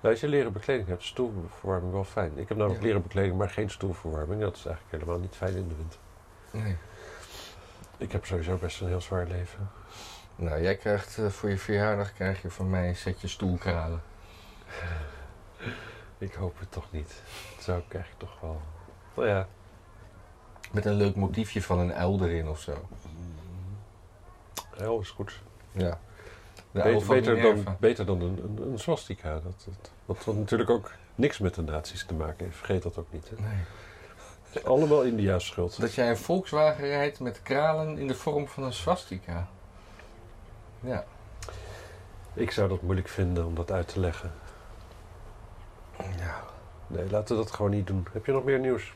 A: Nou, als je leren bekleding hebt, is stoelverwarming wel fijn. Ik heb namelijk
B: Ja.
A: leren bekleding, maar geen stoelverwarming. Dat is eigenlijk helemaal niet fijn in de winter.
B: Nee.
A: Ik heb sowieso best een heel zwaar leven.
B: Nou, jij krijgt eh, voor je verjaardag krijg je van mij een setje stoelkralen.
A: Ik hoop het toch niet. Dat zou ik eigenlijk toch wel... Nou ja,
B: Met een leuk motiefje van een uil erin of zo.
A: heel is goed.
B: Ja. De
A: Beter, beter, dan,
B: Minerva.
A: beter dan een, een, een swastika. Dat, dat, dat, wat natuurlijk ook niks met de nazi's te maken heeft. Vergeet dat ook niet. Hè.
B: Nee.
A: Het is allemaal India's schuld.
B: Dat jij een Volkswagen rijdt met kralen in de vorm van een swastika. Ja.
A: Ik zou dat moeilijk vinden om dat uit te leggen.
B: Ja,
A: Nee, laten we dat gewoon niet doen. Heb je nog meer nieuws?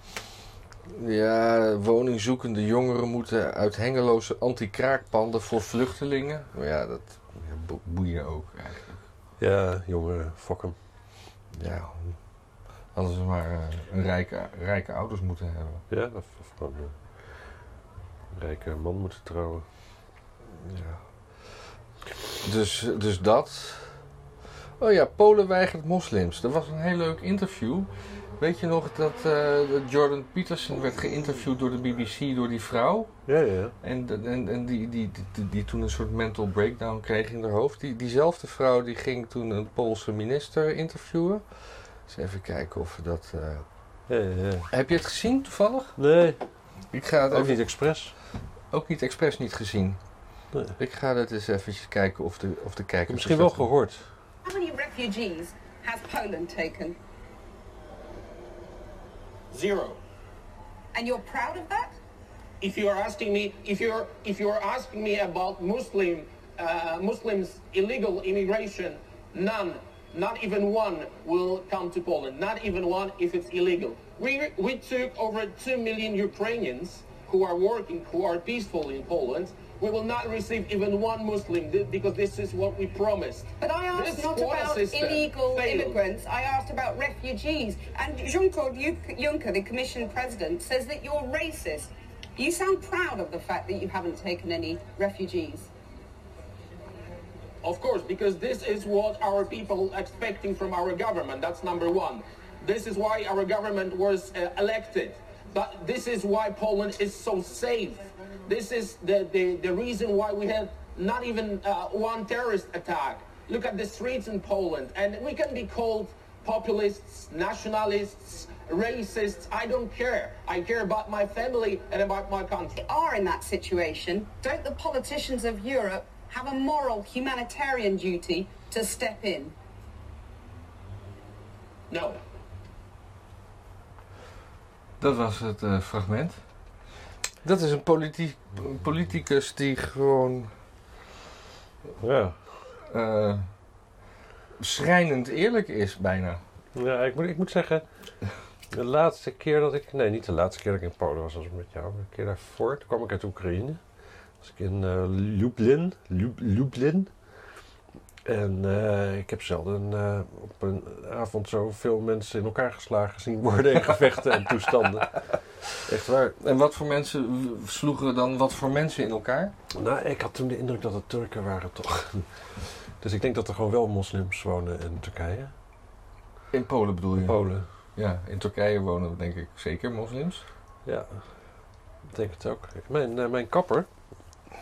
B: ja woningzoekende jongeren moeten uit hengeloze anti-kraakpanden voor vluchtelingen. Maar ja, dat ja, bo- boeien ook eigenlijk.
A: Ja, jongen, fuck hem.
B: Ja. Hadden ze maar eh, een rijke, rijke ouders moeten hebben.
A: Ja, of, of gewoon eh, een rijke man moeten trouwen.
B: Ja. Dus, dus dat. Oh ja, Polen weigert moslims. Er was een heel leuk interview. Weet je nog dat, eh, dat Jordan Peterson werd geïnterviewd door de BBC door die vrouw?
A: Ja, ja.
B: En, dat- en, en die, die, die, die, die toen een soort mental breakdown kreeg in haar hoofd. Die, diezelfde vrouw die ging toen een Poolse minister interviewen. Eens even kijken of we dat... eh,
A: ja, ja, ja.
B: Heb je het gezien toevallig?
A: Nee,
B: Ik ga het
A: ook
B: even
A: niet expres.
B: ook niet expres niet gezien.
A: Nee.
B: Ik ga dat eens eventjes kijken of de, of de kijkers...
A: Misschien
B: of
A: wel
B: dat-
A: gehoord.
D: How many refugees has Poland taken?
E: Zero.
D: And you're proud of that?
E: If you are asking me, if you're if you're asking me about Muslim uh, Muslims illegal immigration, none, not even one will come to Poland. Not even one if it's illegal. We we took over two million Ukrainians who are working, who are peaceful in Poland. We will not receive even one Muslim th- because this is what we promised.
D: But I asked
E: This
D: not
E: quota
D: about
E: system
D: illegal
E: failed.
D: immigrants, I asked about refugees. And Jean Claude Juncker, the Commission President, says that you're racist. You sound proud of the fact that you haven't taken any refugees.
E: Of course, because this is what our people expecting from our government. That's number one. This is why our government was uh, elected. But this is why Poland is so safe. This is the, the, the reason why we had not even uh, one terrorist attack. Look at the streets in Poland. And we can be called populists, nationalists, racists. I don't care. I care about my family and about my country. Oh,
D: Are in that situation, don't the politicians of Europe have a moral humanitarian duty to step in?
E: No.
B: Dat was het eh, fragment. Dat is een, politie- een politicus die gewoon
A: Ja.
B: eh, schrijnend eerlijk is, bijna.
A: Ja, ik moet, ik moet zeggen, de laatste keer dat ik... Nee, niet de laatste keer dat ik in Polen was, was met jou. maar De keer daarvoor, toen kwam ik uit Oekraïne. was ik in eh, Lublin. Lub- Lublin. En eh, ik heb zelden eh, op een avond zoveel mensen in elkaar geslagen zien worden in gevechten en toestanden. Echt waar.
B: En wat voor mensen w- sloegen dan wat voor mensen in elkaar?
A: Nou, ik had toen de indruk dat het Turken waren, toch? Dus ik denk dat er gewoon wel moslims wonen in Turkije.
B: In Polen bedoel je?
A: Polen.
B: Ja, in Turkije wonen denk ik zeker moslims.
A: Ja, ik denk het ook. Mijn, eh, mijn kapper,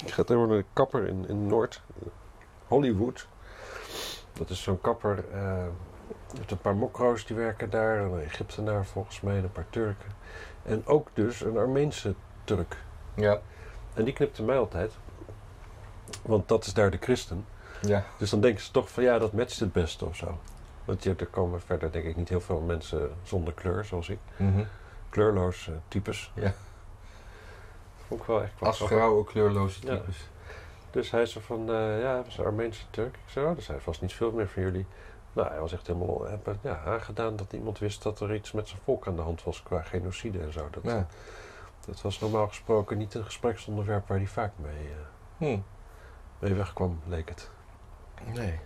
A: ik ga tegenwoordig naar de kapper in, in Noord, eh, Hollywood. Dat is zo'n kapper, eh met een paar mokro's die werken daar, een Egyptenaar volgens mij, en een paar Turken. En ook dus een Armeense Turk.
B: Ja,
A: En die knipte mij altijd, want dat is daar de christen.
B: ja.
A: Dus dan denken ze toch van ja, dat matcht het beste of zo. Want hier, er komen verder denk ik niet heel veel mensen zonder kleur, zoals ik.
B: Mhm.
A: Kleurloos eh, types.
B: Ja.
A: Vond ik wel echt wel
B: Als
A: grappig.
B: vrouwen kleurloze
A: Ja.
B: types.
A: Dus hij zei van, eh, ja, hij was een Armeense Turk. Ik zei, oh, dus hij vast niet veel meer van jullie. Nou, hij was echt helemaal eh, ja, aangedaan dat iemand wist dat er iets met zijn volk aan de hand was qua genocide en zo. Dat,
B: Ja.
A: dat was normaal gesproken niet een gespreksonderwerp waar hij vaak mee, eh,
B: Hm.
A: mee wegkwam, leek het.
B: Nee.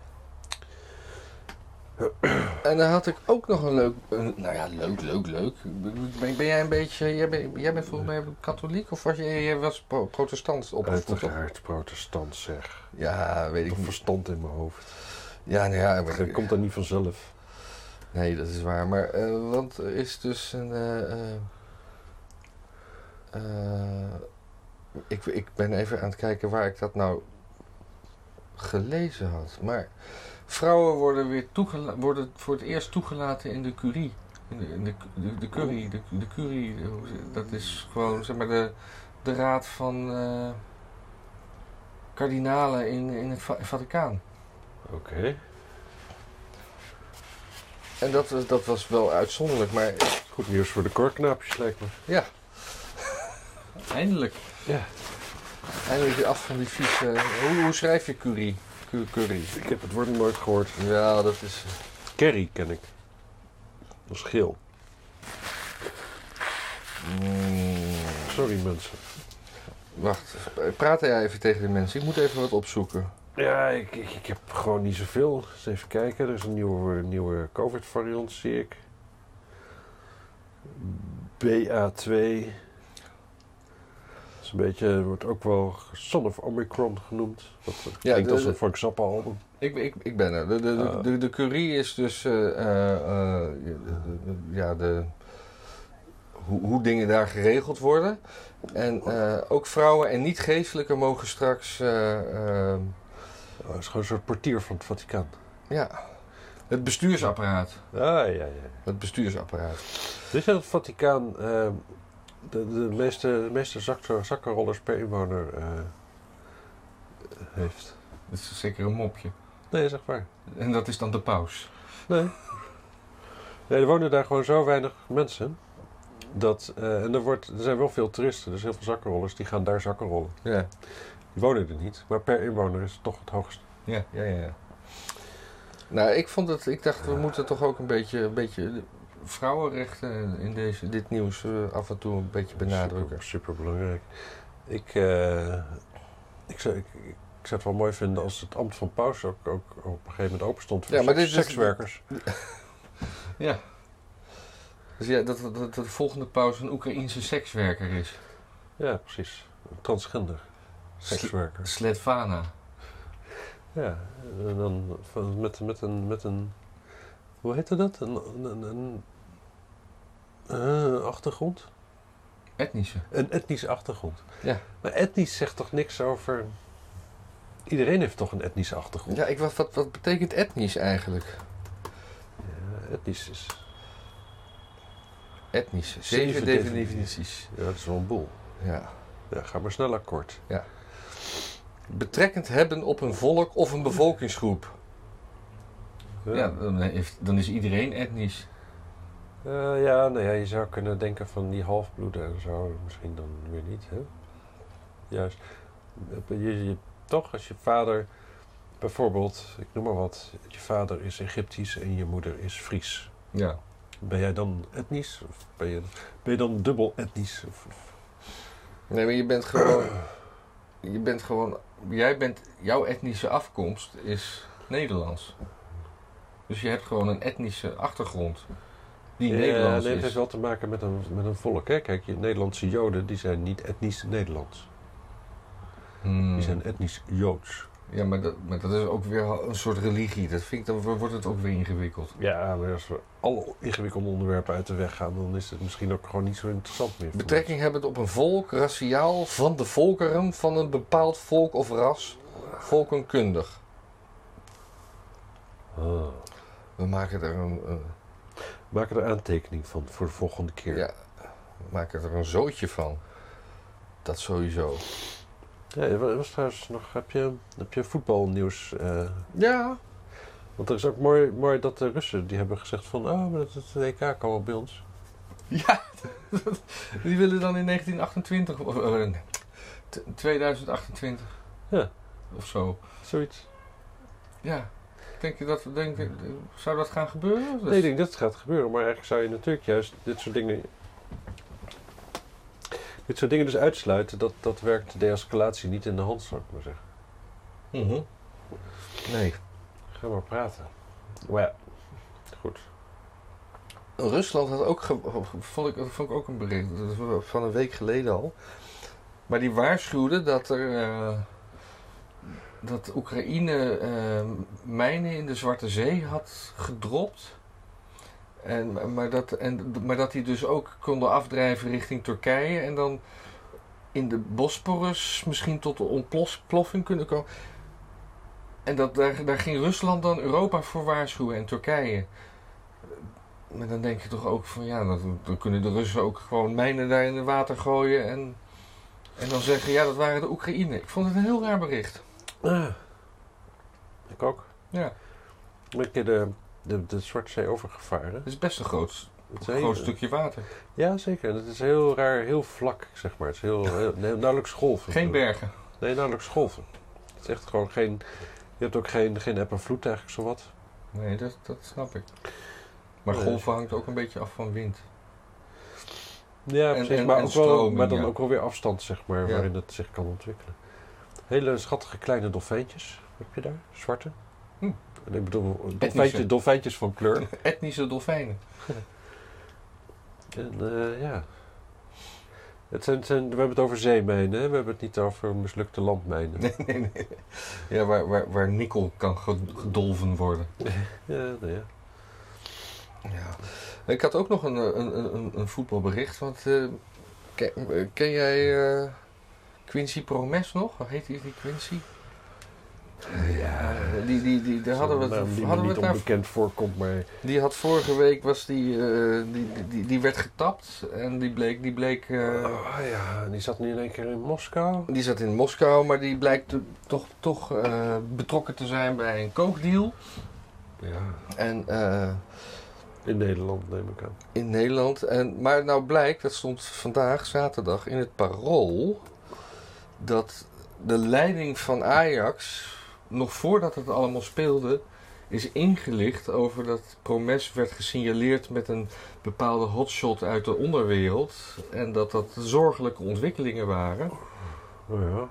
B: En dan had ik ook nog een leuk, een- nou ja, leuk, leuk, leuk. Ben, ben jij een beetje, jij, ben, jij bent volgens mij katholiek of was je, jij was pro- protestant opgevoed? toch?
A: Uiteraard protestant zeg.
B: Ja, weet
A: Ik
B: ik
A: heb
B: niet.
A: verstand in mijn hoofd.
B: Ja, nou ja, maar-
A: Dat komt er niet vanzelf.
B: nee, dat is waar. Maar, eh, want er is dus een, eh, eh, eh, ik, ik ben even aan het kijken waar ik dat nou gelezen had. Maar vrouwen worden weer toegela- worden voor het eerst toegelaten in de curie. In de, in de, de, de curry, de, de curie, de- hoe ze- dat is gewoon zeg maar de, de raad van eh, kardinalen in, in het Va- Vaticaan.
A: Oké.
B: En dat, was- dat was wel uitzonderlijk, maar
A: Goed nieuws voor de korknaapjes lijkt me.
B: ja. Eindelijk.
A: Ja.
B: Eindelijk weer af van die vieze... Hoe, hoe schrijf je curry? Cu- Curry.
A: Ik heb het woord nooit gehoord.
B: Ja, dat is...
A: Kerry ken ik. Dat is geel.
B: Mm,
A: Sorry mensen.
B: wacht, praat jij even tegen de mensen. Ik moet even wat opzoeken.
A: Ja, ik, ik, ik heb gewoon niet zoveel. Eens even kijken. Er is een nieuwe, nieuwe COVID-variant, zie ik. BA2. Dat is een beetje, wordt ook wel Son of Omicron genoemd. Dat klinkt
B: de-
A: als een
B: de-
A: Frank Zappa album.
B: Ik, ik, ik ben er. De, de, de,
A: Ah.
B: de, de curry is dus... eh, eh, eh, de- de- de- ja, de... Hoe, hoe dingen daar geregeld worden. En eh, ook vrouwen en niet-geestelijken mogen straks... eh, eh,
A: Oh, dat is gewoon een soort portier van het Vaticaan.
B: Ja. Het bestuursapparaat.
A: Ah, ja, ja.
B: Het bestuursapparaat.
A: Dus dat het Vaticaan eh, de, de meeste, de meeste zak- zakkenrollers per inwoner eh, heeft.
B: Dat is zeker een mopje.
A: Nee, zeg maar.
B: En dat is dan de paus.
A: Nee. Nee, er wonen daar gewoon zo weinig mensen. Dat, eh, en er, wordt, er zijn wel veel toeristen, dus heel veel zakkenrollers, die gaan daar zakken rollen.
B: Ja,
A: Die wonen er niet, maar per inwoner is het toch het hoogst.
B: ja, ja, ja. Nou, ik vond het, ik dacht, we moeten toch ook een beetje, een beetje de vrouwenrechten in deze, dit nieuws eh, af en toe een beetje benadrukken.
A: Super, belangrijk. Ik, eh, ik, zou, ik, ik zou het wel mooi vinden als het ambt van paus ook, ook op een gegeven moment open stond voor
B: Ja, maar
A: seks-
B: dit is- dus-
A: sekswerkers.
B: Ja. Dus ja, dat, dat, dat de volgende paus een Oekraïense sekswerker is.
A: Ja, precies. Transgender sekswerker.
B: Sletvana.
A: Ja, en dan van- met, met, een, met een. Hoe heette dat? Een, een, een, een- eh, achtergrond?
B: Etnische.
A: Een etnische achtergrond.
B: Ja.
A: Maar etnisch zegt toch niks over. Iedereen heeft toch een etnische achtergrond?
B: Ja, ik, wat, wat, wat betekent etnisch eigenlijk?
A: Ja, etnisch is.
B: Etnisch. Zeven,
A: Zeven
B: definities.
A: definities. Ja, dat is wel een boel.
B: Ja.
A: Ja, ga maar snel akkoord.
B: Betrekkend hebben op een volk of een bevolkingsgroep.
A: Ja.
B: Ja, dan, heeft, dan is iedereen etnisch.
A: Eh, ja, nou ja, je zou kunnen denken van die halfbloeden en zo. Misschien dan weer niet, hè? Juist. Je, je- toch, als je vader... Bijvoorbeeld, ik noem maar wat. Je vader is Egyptisch en je moeder is Fries.
B: Ja.
A: Ben jij dan etnisch? Of ben je, ben je dan dubbel etnisch? Of, of-
B: Nee, maar je bent gewoon. Je bent gewoon. Jij bent. Jouw etnische afkomst is Nederlands. Dus je hebt gewoon een etnische achtergrond. Die
A: Ja,
B: Nederlands
A: nee, het
B: is.
A: heeft wel te maken met een, met een volk, hè? Kijk, je Nederlandse Joden, die zijn niet etnisch Nederlands.
B: Hmm.
A: Die zijn etnisch Joods.
B: Ja, maar dat, maar dat is ook weer een soort religie. Dat vind ik, dan wordt het ook weer ingewikkeld.
A: Ja, maar als we alle ingewikkelde onderwerpen uit de weg gaan, dan is het misschien ook gewoon niet zo interessant meer. voor
B: Betrekking hebben het op een volk, raciaal, van de volkeren, van een bepaald volk of ras, volkenkundig.
A: ons. Ah.
B: We maken er een, eh,
A: Maak er een aantekening van voor de volgende keer.
B: ja, we maken er een zootje van. Dat sowieso.
A: Ja, er was trouwens nog, heb je, heb je voetbalnieuws? eh,
B: Ja.
A: want er is ook mooi, mooi dat de Russen die hebben gezegd van, oh, maar dat het EK kan wel bij ons.
B: Ja, die willen dan in 1928, of eh, nee, t- 2028
A: Ja.
B: of zo.
A: Zoiets.
B: Ja. Denk je dat, denk, je- zou dat gaan gebeuren?
A: Nee, ik denk dat het gaat gebeuren, maar eigenlijk zou je natuurlijk juist dit soort dingen. Dit soort dingen dus uitsluiten, dat, dat werkt de de-escalatie niet in de hand, zou ik maar zeggen.
B: Mhm. Nee.
A: Ga maar praten. Maar ja, goed.
B: Rusland had ook, ge- vond ik, dat vond ik ook een bericht, dat is van een week geleden al. Maar die waarschuwde dat er, eh, dat Oekraïne eh, mijnen in de Zwarte Zee had gedropt. En, maar, dat, en, maar dat die dus ook konden afdrijven richting Turkije en dan in de Bosporus misschien tot de ontploffing kunnen komen. En dat, daar, daar ging Rusland dan Europa voor waarschuwen en Turkije. Maar dan denk je toch ook van ja, dat, dan kunnen de Russen ook gewoon mijnen daar in het water gooien en, en dan zeggen ja, dat waren de Oekraïne. Ik vond het een heel raar bericht.
A: Ah, ik ook.
B: Ja,
A: Ik ben een keer de, de, de Zwarte Zee overgevaren.
B: het is best een groot,
A: Het is heel-
B: groot stukje water.
A: Ja, zeker. En Het is heel raar, heel vlak, zeg maar. Het is heel, heel nee, nauwelijks golven.
B: Geen bergen.
A: Nee, nauwelijks golven. Het is echt gewoon geen... Je hebt ook geen, geen eb en vloed eigenlijk, zowat.
B: Nee, dat, dat snap ik. Maar
A: Nee.
B: golven hangt ook een beetje af van wind.
A: Ja,
B: En-
A: precies.
B: en-
A: maar,
B: en
A: ook wel,
B: stroming,
A: maar dan
B: ja.
A: ook wel weer afstand, zeg maar,
B: Ja.
A: waarin het zich kan ontwikkelen. Hele schattige kleine dolfijntjes heb je daar, zwarte.
B: Hm.
A: En ik bedoel, dolfijntjes, dolfijntjes van kleur.
B: Etnische dolfijnen.
A: En, eh, ja. Het zijn, het zijn- we hebben het over zeemijnen, hè? we hebben het niet over mislukte landmijnen.
B: Nee, nee, nee. Ja, waar, waar, waar nikkel kan ge- gedolven worden.
A: Ja, nou ja.
B: Ja. Ik had ook nog een, eh, een, een- een, een voetbalbericht. Want eh, ken, eh, ken jij eh, Quincy Promes nog? Hoe heet die, die Quincy? Ja, die, die, die, daar hadden we
A: Zo'n naam
B: het,
A: die
B: hadden
A: me
B: we
A: niet
B: het daar
A: onbekend voorkomt, maar
B: die had vorige week was die, eh, die, die- die, die werd getapt en die bleek, die bleek eh,
A: oh, ja, die zat nu in één keer in Moskou.
B: die zat in Moskou, maar die blijkt to- toch, toch eh, betrokken te zijn bij een kookdeal.
A: Ja.
B: En eh,
A: In Nederland neem ik aan.
B: in Nederland. En, maar nou blijkt, dat stond vandaag, zaterdag, in het parool. Dat de leiding van Ajax, nog voordat het allemaal speelde, is ingelicht over dat Promes werd gesignaleerd met een bepaalde hotshot uit de onderwereld. En dat dat zorgelijke ontwikkelingen waren.
A: Oh ja,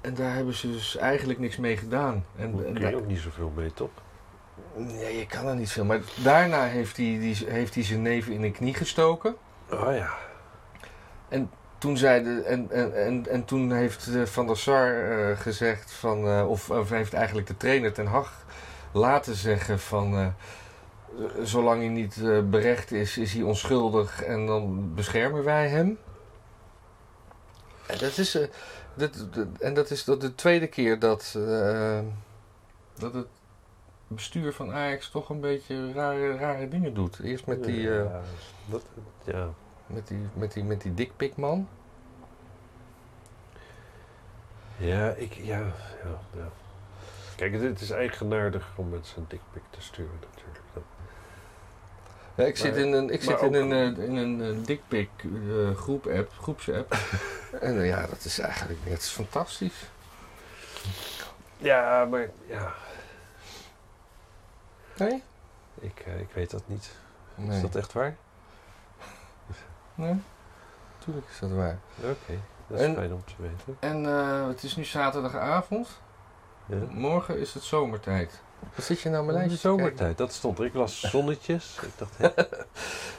B: En daar hebben ze dus eigenlijk niks mee gedaan. En,
A: daar
B: en
A: kun je ook niet zoveel mee, toch?
B: nee, je kan er niet veel. Maar daarna heeft hij, die, heeft hij zijn neef in de knie gestoken.
A: Oh ja.
B: Toen zeiden, en, en, en, en toen heeft eh, Van der Sar eh, gezegd van, eh, of, of heeft eigenlijk de trainer Ten Hag laten zeggen van, eh, z- zolang hij niet eh, berecht is, is hij onschuldig en dan beschermen wij hem. En dat is, eh, dat, dat- en dat is dat de tweede keer dat, eh, dat het bestuur van Ajax toch een beetje rare, rare dingen doet. Eerst met die... eh,
A: Ja, dat, ja.
B: met die, met die, met die dikpikman.
A: Ja, ik, ja, ja, ja. Kijk, het, het is eigenaardig om mensen een dikpik te sturen natuurlijk. Dat-
B: Ja, ik zit
A: Maar-
B: in een, ik
A: maar
B: zit in
A: ook-
B: een, eh, in een eh, dikpik eh, groep app, groepsapp. en eh, ja, dat is eigenlijk het is fantastisch.
A: Ja, maar ja,
B: Nee?
A: ik, eh, ik weet dat niet. Is
B: Nee.
A: dat echt waar?
B: nee? Tuurlijk is dat waar.
A: Oké, dat is
B: En-
A: fijn om te weten.
B: En eh, het is nu zaterdagavond.
A: Ja.
B: Morgen is het zomertijd. Wat zit je nou mijn lijstje? te kijken?
A: Zomertijd, dat stond er. Ik las zonnetjes. Ik dacht, hè,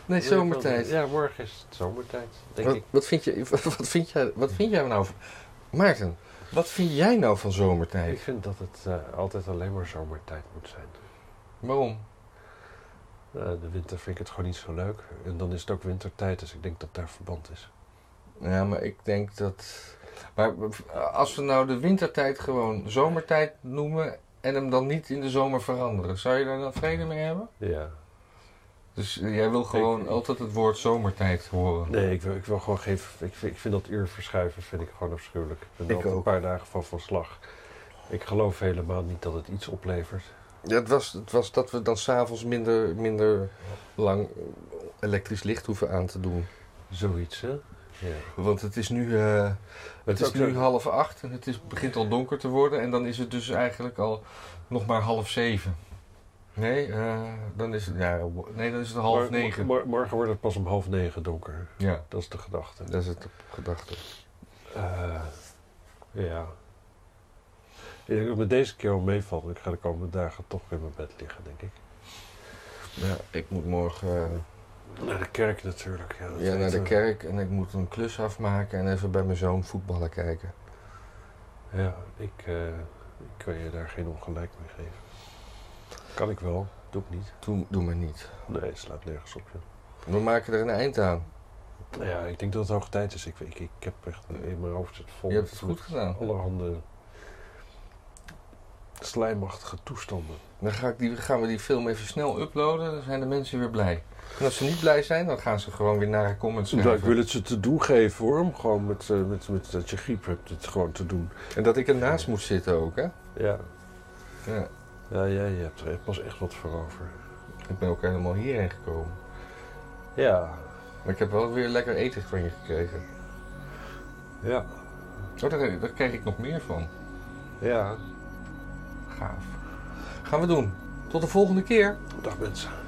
B: Nee, zomertijd.
A: Ja, morgen is het zomertijd, denk
B: Wat,
A: ik.
B: wat, vind je, wat, vind jij, wat vind jij nou van... Maarten, wat vind jij nou van
A: Ik
B: zomertijd?
A: vind dat het eh, altijd alleen maar zomertijd moet zijn.
B: Waarom?
A: Eh, de winter vind ik het gewoon niet zo leuk. En dan is het ook wintertijd, dus ik denk dat daar verband is.
B: Ja, maar ik denk dat... Maar als we nou de wintertijd gewoon zomertijd noemen... en hem dan niet in de zomer veranderen... zou je daar dan vrede mee hebben?
A: Ja.
B: Dus eh, jij wil gewoon
A: Ik-
B: altijd het woord zomertijd horen.
A: Nee, ik wil, ik wil gewoon geen... Ik vind, ik vind dat uur verschuiven vind ik gewoon afschuwelijk. Ik ben er
B: Ik
A: altijd
B: ook.
A: een paar dagen van van slag. Ik geloof helemaal niet dat het iets oplevert.
B: Ja, het, was, het was dat we dan s'avonds minder, minder lang elektrisch licht hoeven aan te doen.
A: Zoiets, hè? Ja.
B: Want het is nu, eh, het is
A: ook
B: nu
A: zo-
B: half acht en het is, begint al donker te worden. En dan is het dus eigenlijk al nog maar half zeven. Nee, eh, dan, is het, ja, nee dan is het half
A: Mor-
B: negen.
A: mor- morgen wordt het pas om half negen donker.
B: Ja,
A: Dat is de gedachte.
B: dat is het op gedachte.
A: Eh, ja. Ik denk dat het me deze keer al meevalt. Ik ga de komende dagen toch in mijn bed liggen, denk ik.
B: Ja, ik moet morgen eh,
A: Naar de kerk natuurlijk. Ja, dat eh,
B: ja, naar
A: weet
B: de
A: je.
B: kerk en ik moet een klus afmaken en even bij mijn zoon voetballen kijken.
A: Ja, ik, eh, ik kan je daar geen ongelijk mee geven. Kan ik wel, doe ik niet.
B: Toen, doe maar niet.
A: Nee, het slaat nergens op. joh.
B: We maken er een eind aan.
A: Nou ja, ik denk dat het hoog tijd is. Ik, ik, ik heb echt in mijn hoofd zit vol
B: Je hebt het
A: met
B: goed gedaan.
A: allerhande slijmachtige toestanden.
B: Dan ga ik die, gaan we die film even snel uploaden, dan zijn de mensen weer blij. En als ze niet blij zijn, dan gaan ze gewoon weer naar de comments
A: Ja, ik
B: schrijven.
A: wil het ze te doen geven hoor, om gewoon met, eh, met, met dat je griep hebt, het gewoon te doen.
B: En dat ik ernaast moet zitten ook, hè?
A: Ja,
B: Ja,
A: ja, ja je hebt er pas echt wat voor over.
B: ik ben ook helemaal hierheen gekomen.
A: Ja,
B: Maar ik heb wel weer lekker eten van je gekregen.
A: ja,
B: Oh, daar, daar kreeg ik nog meer van.
A: ja.
B: Gaaf. Gaan we doen. Tot de volgende keer.
A: Dag mensen.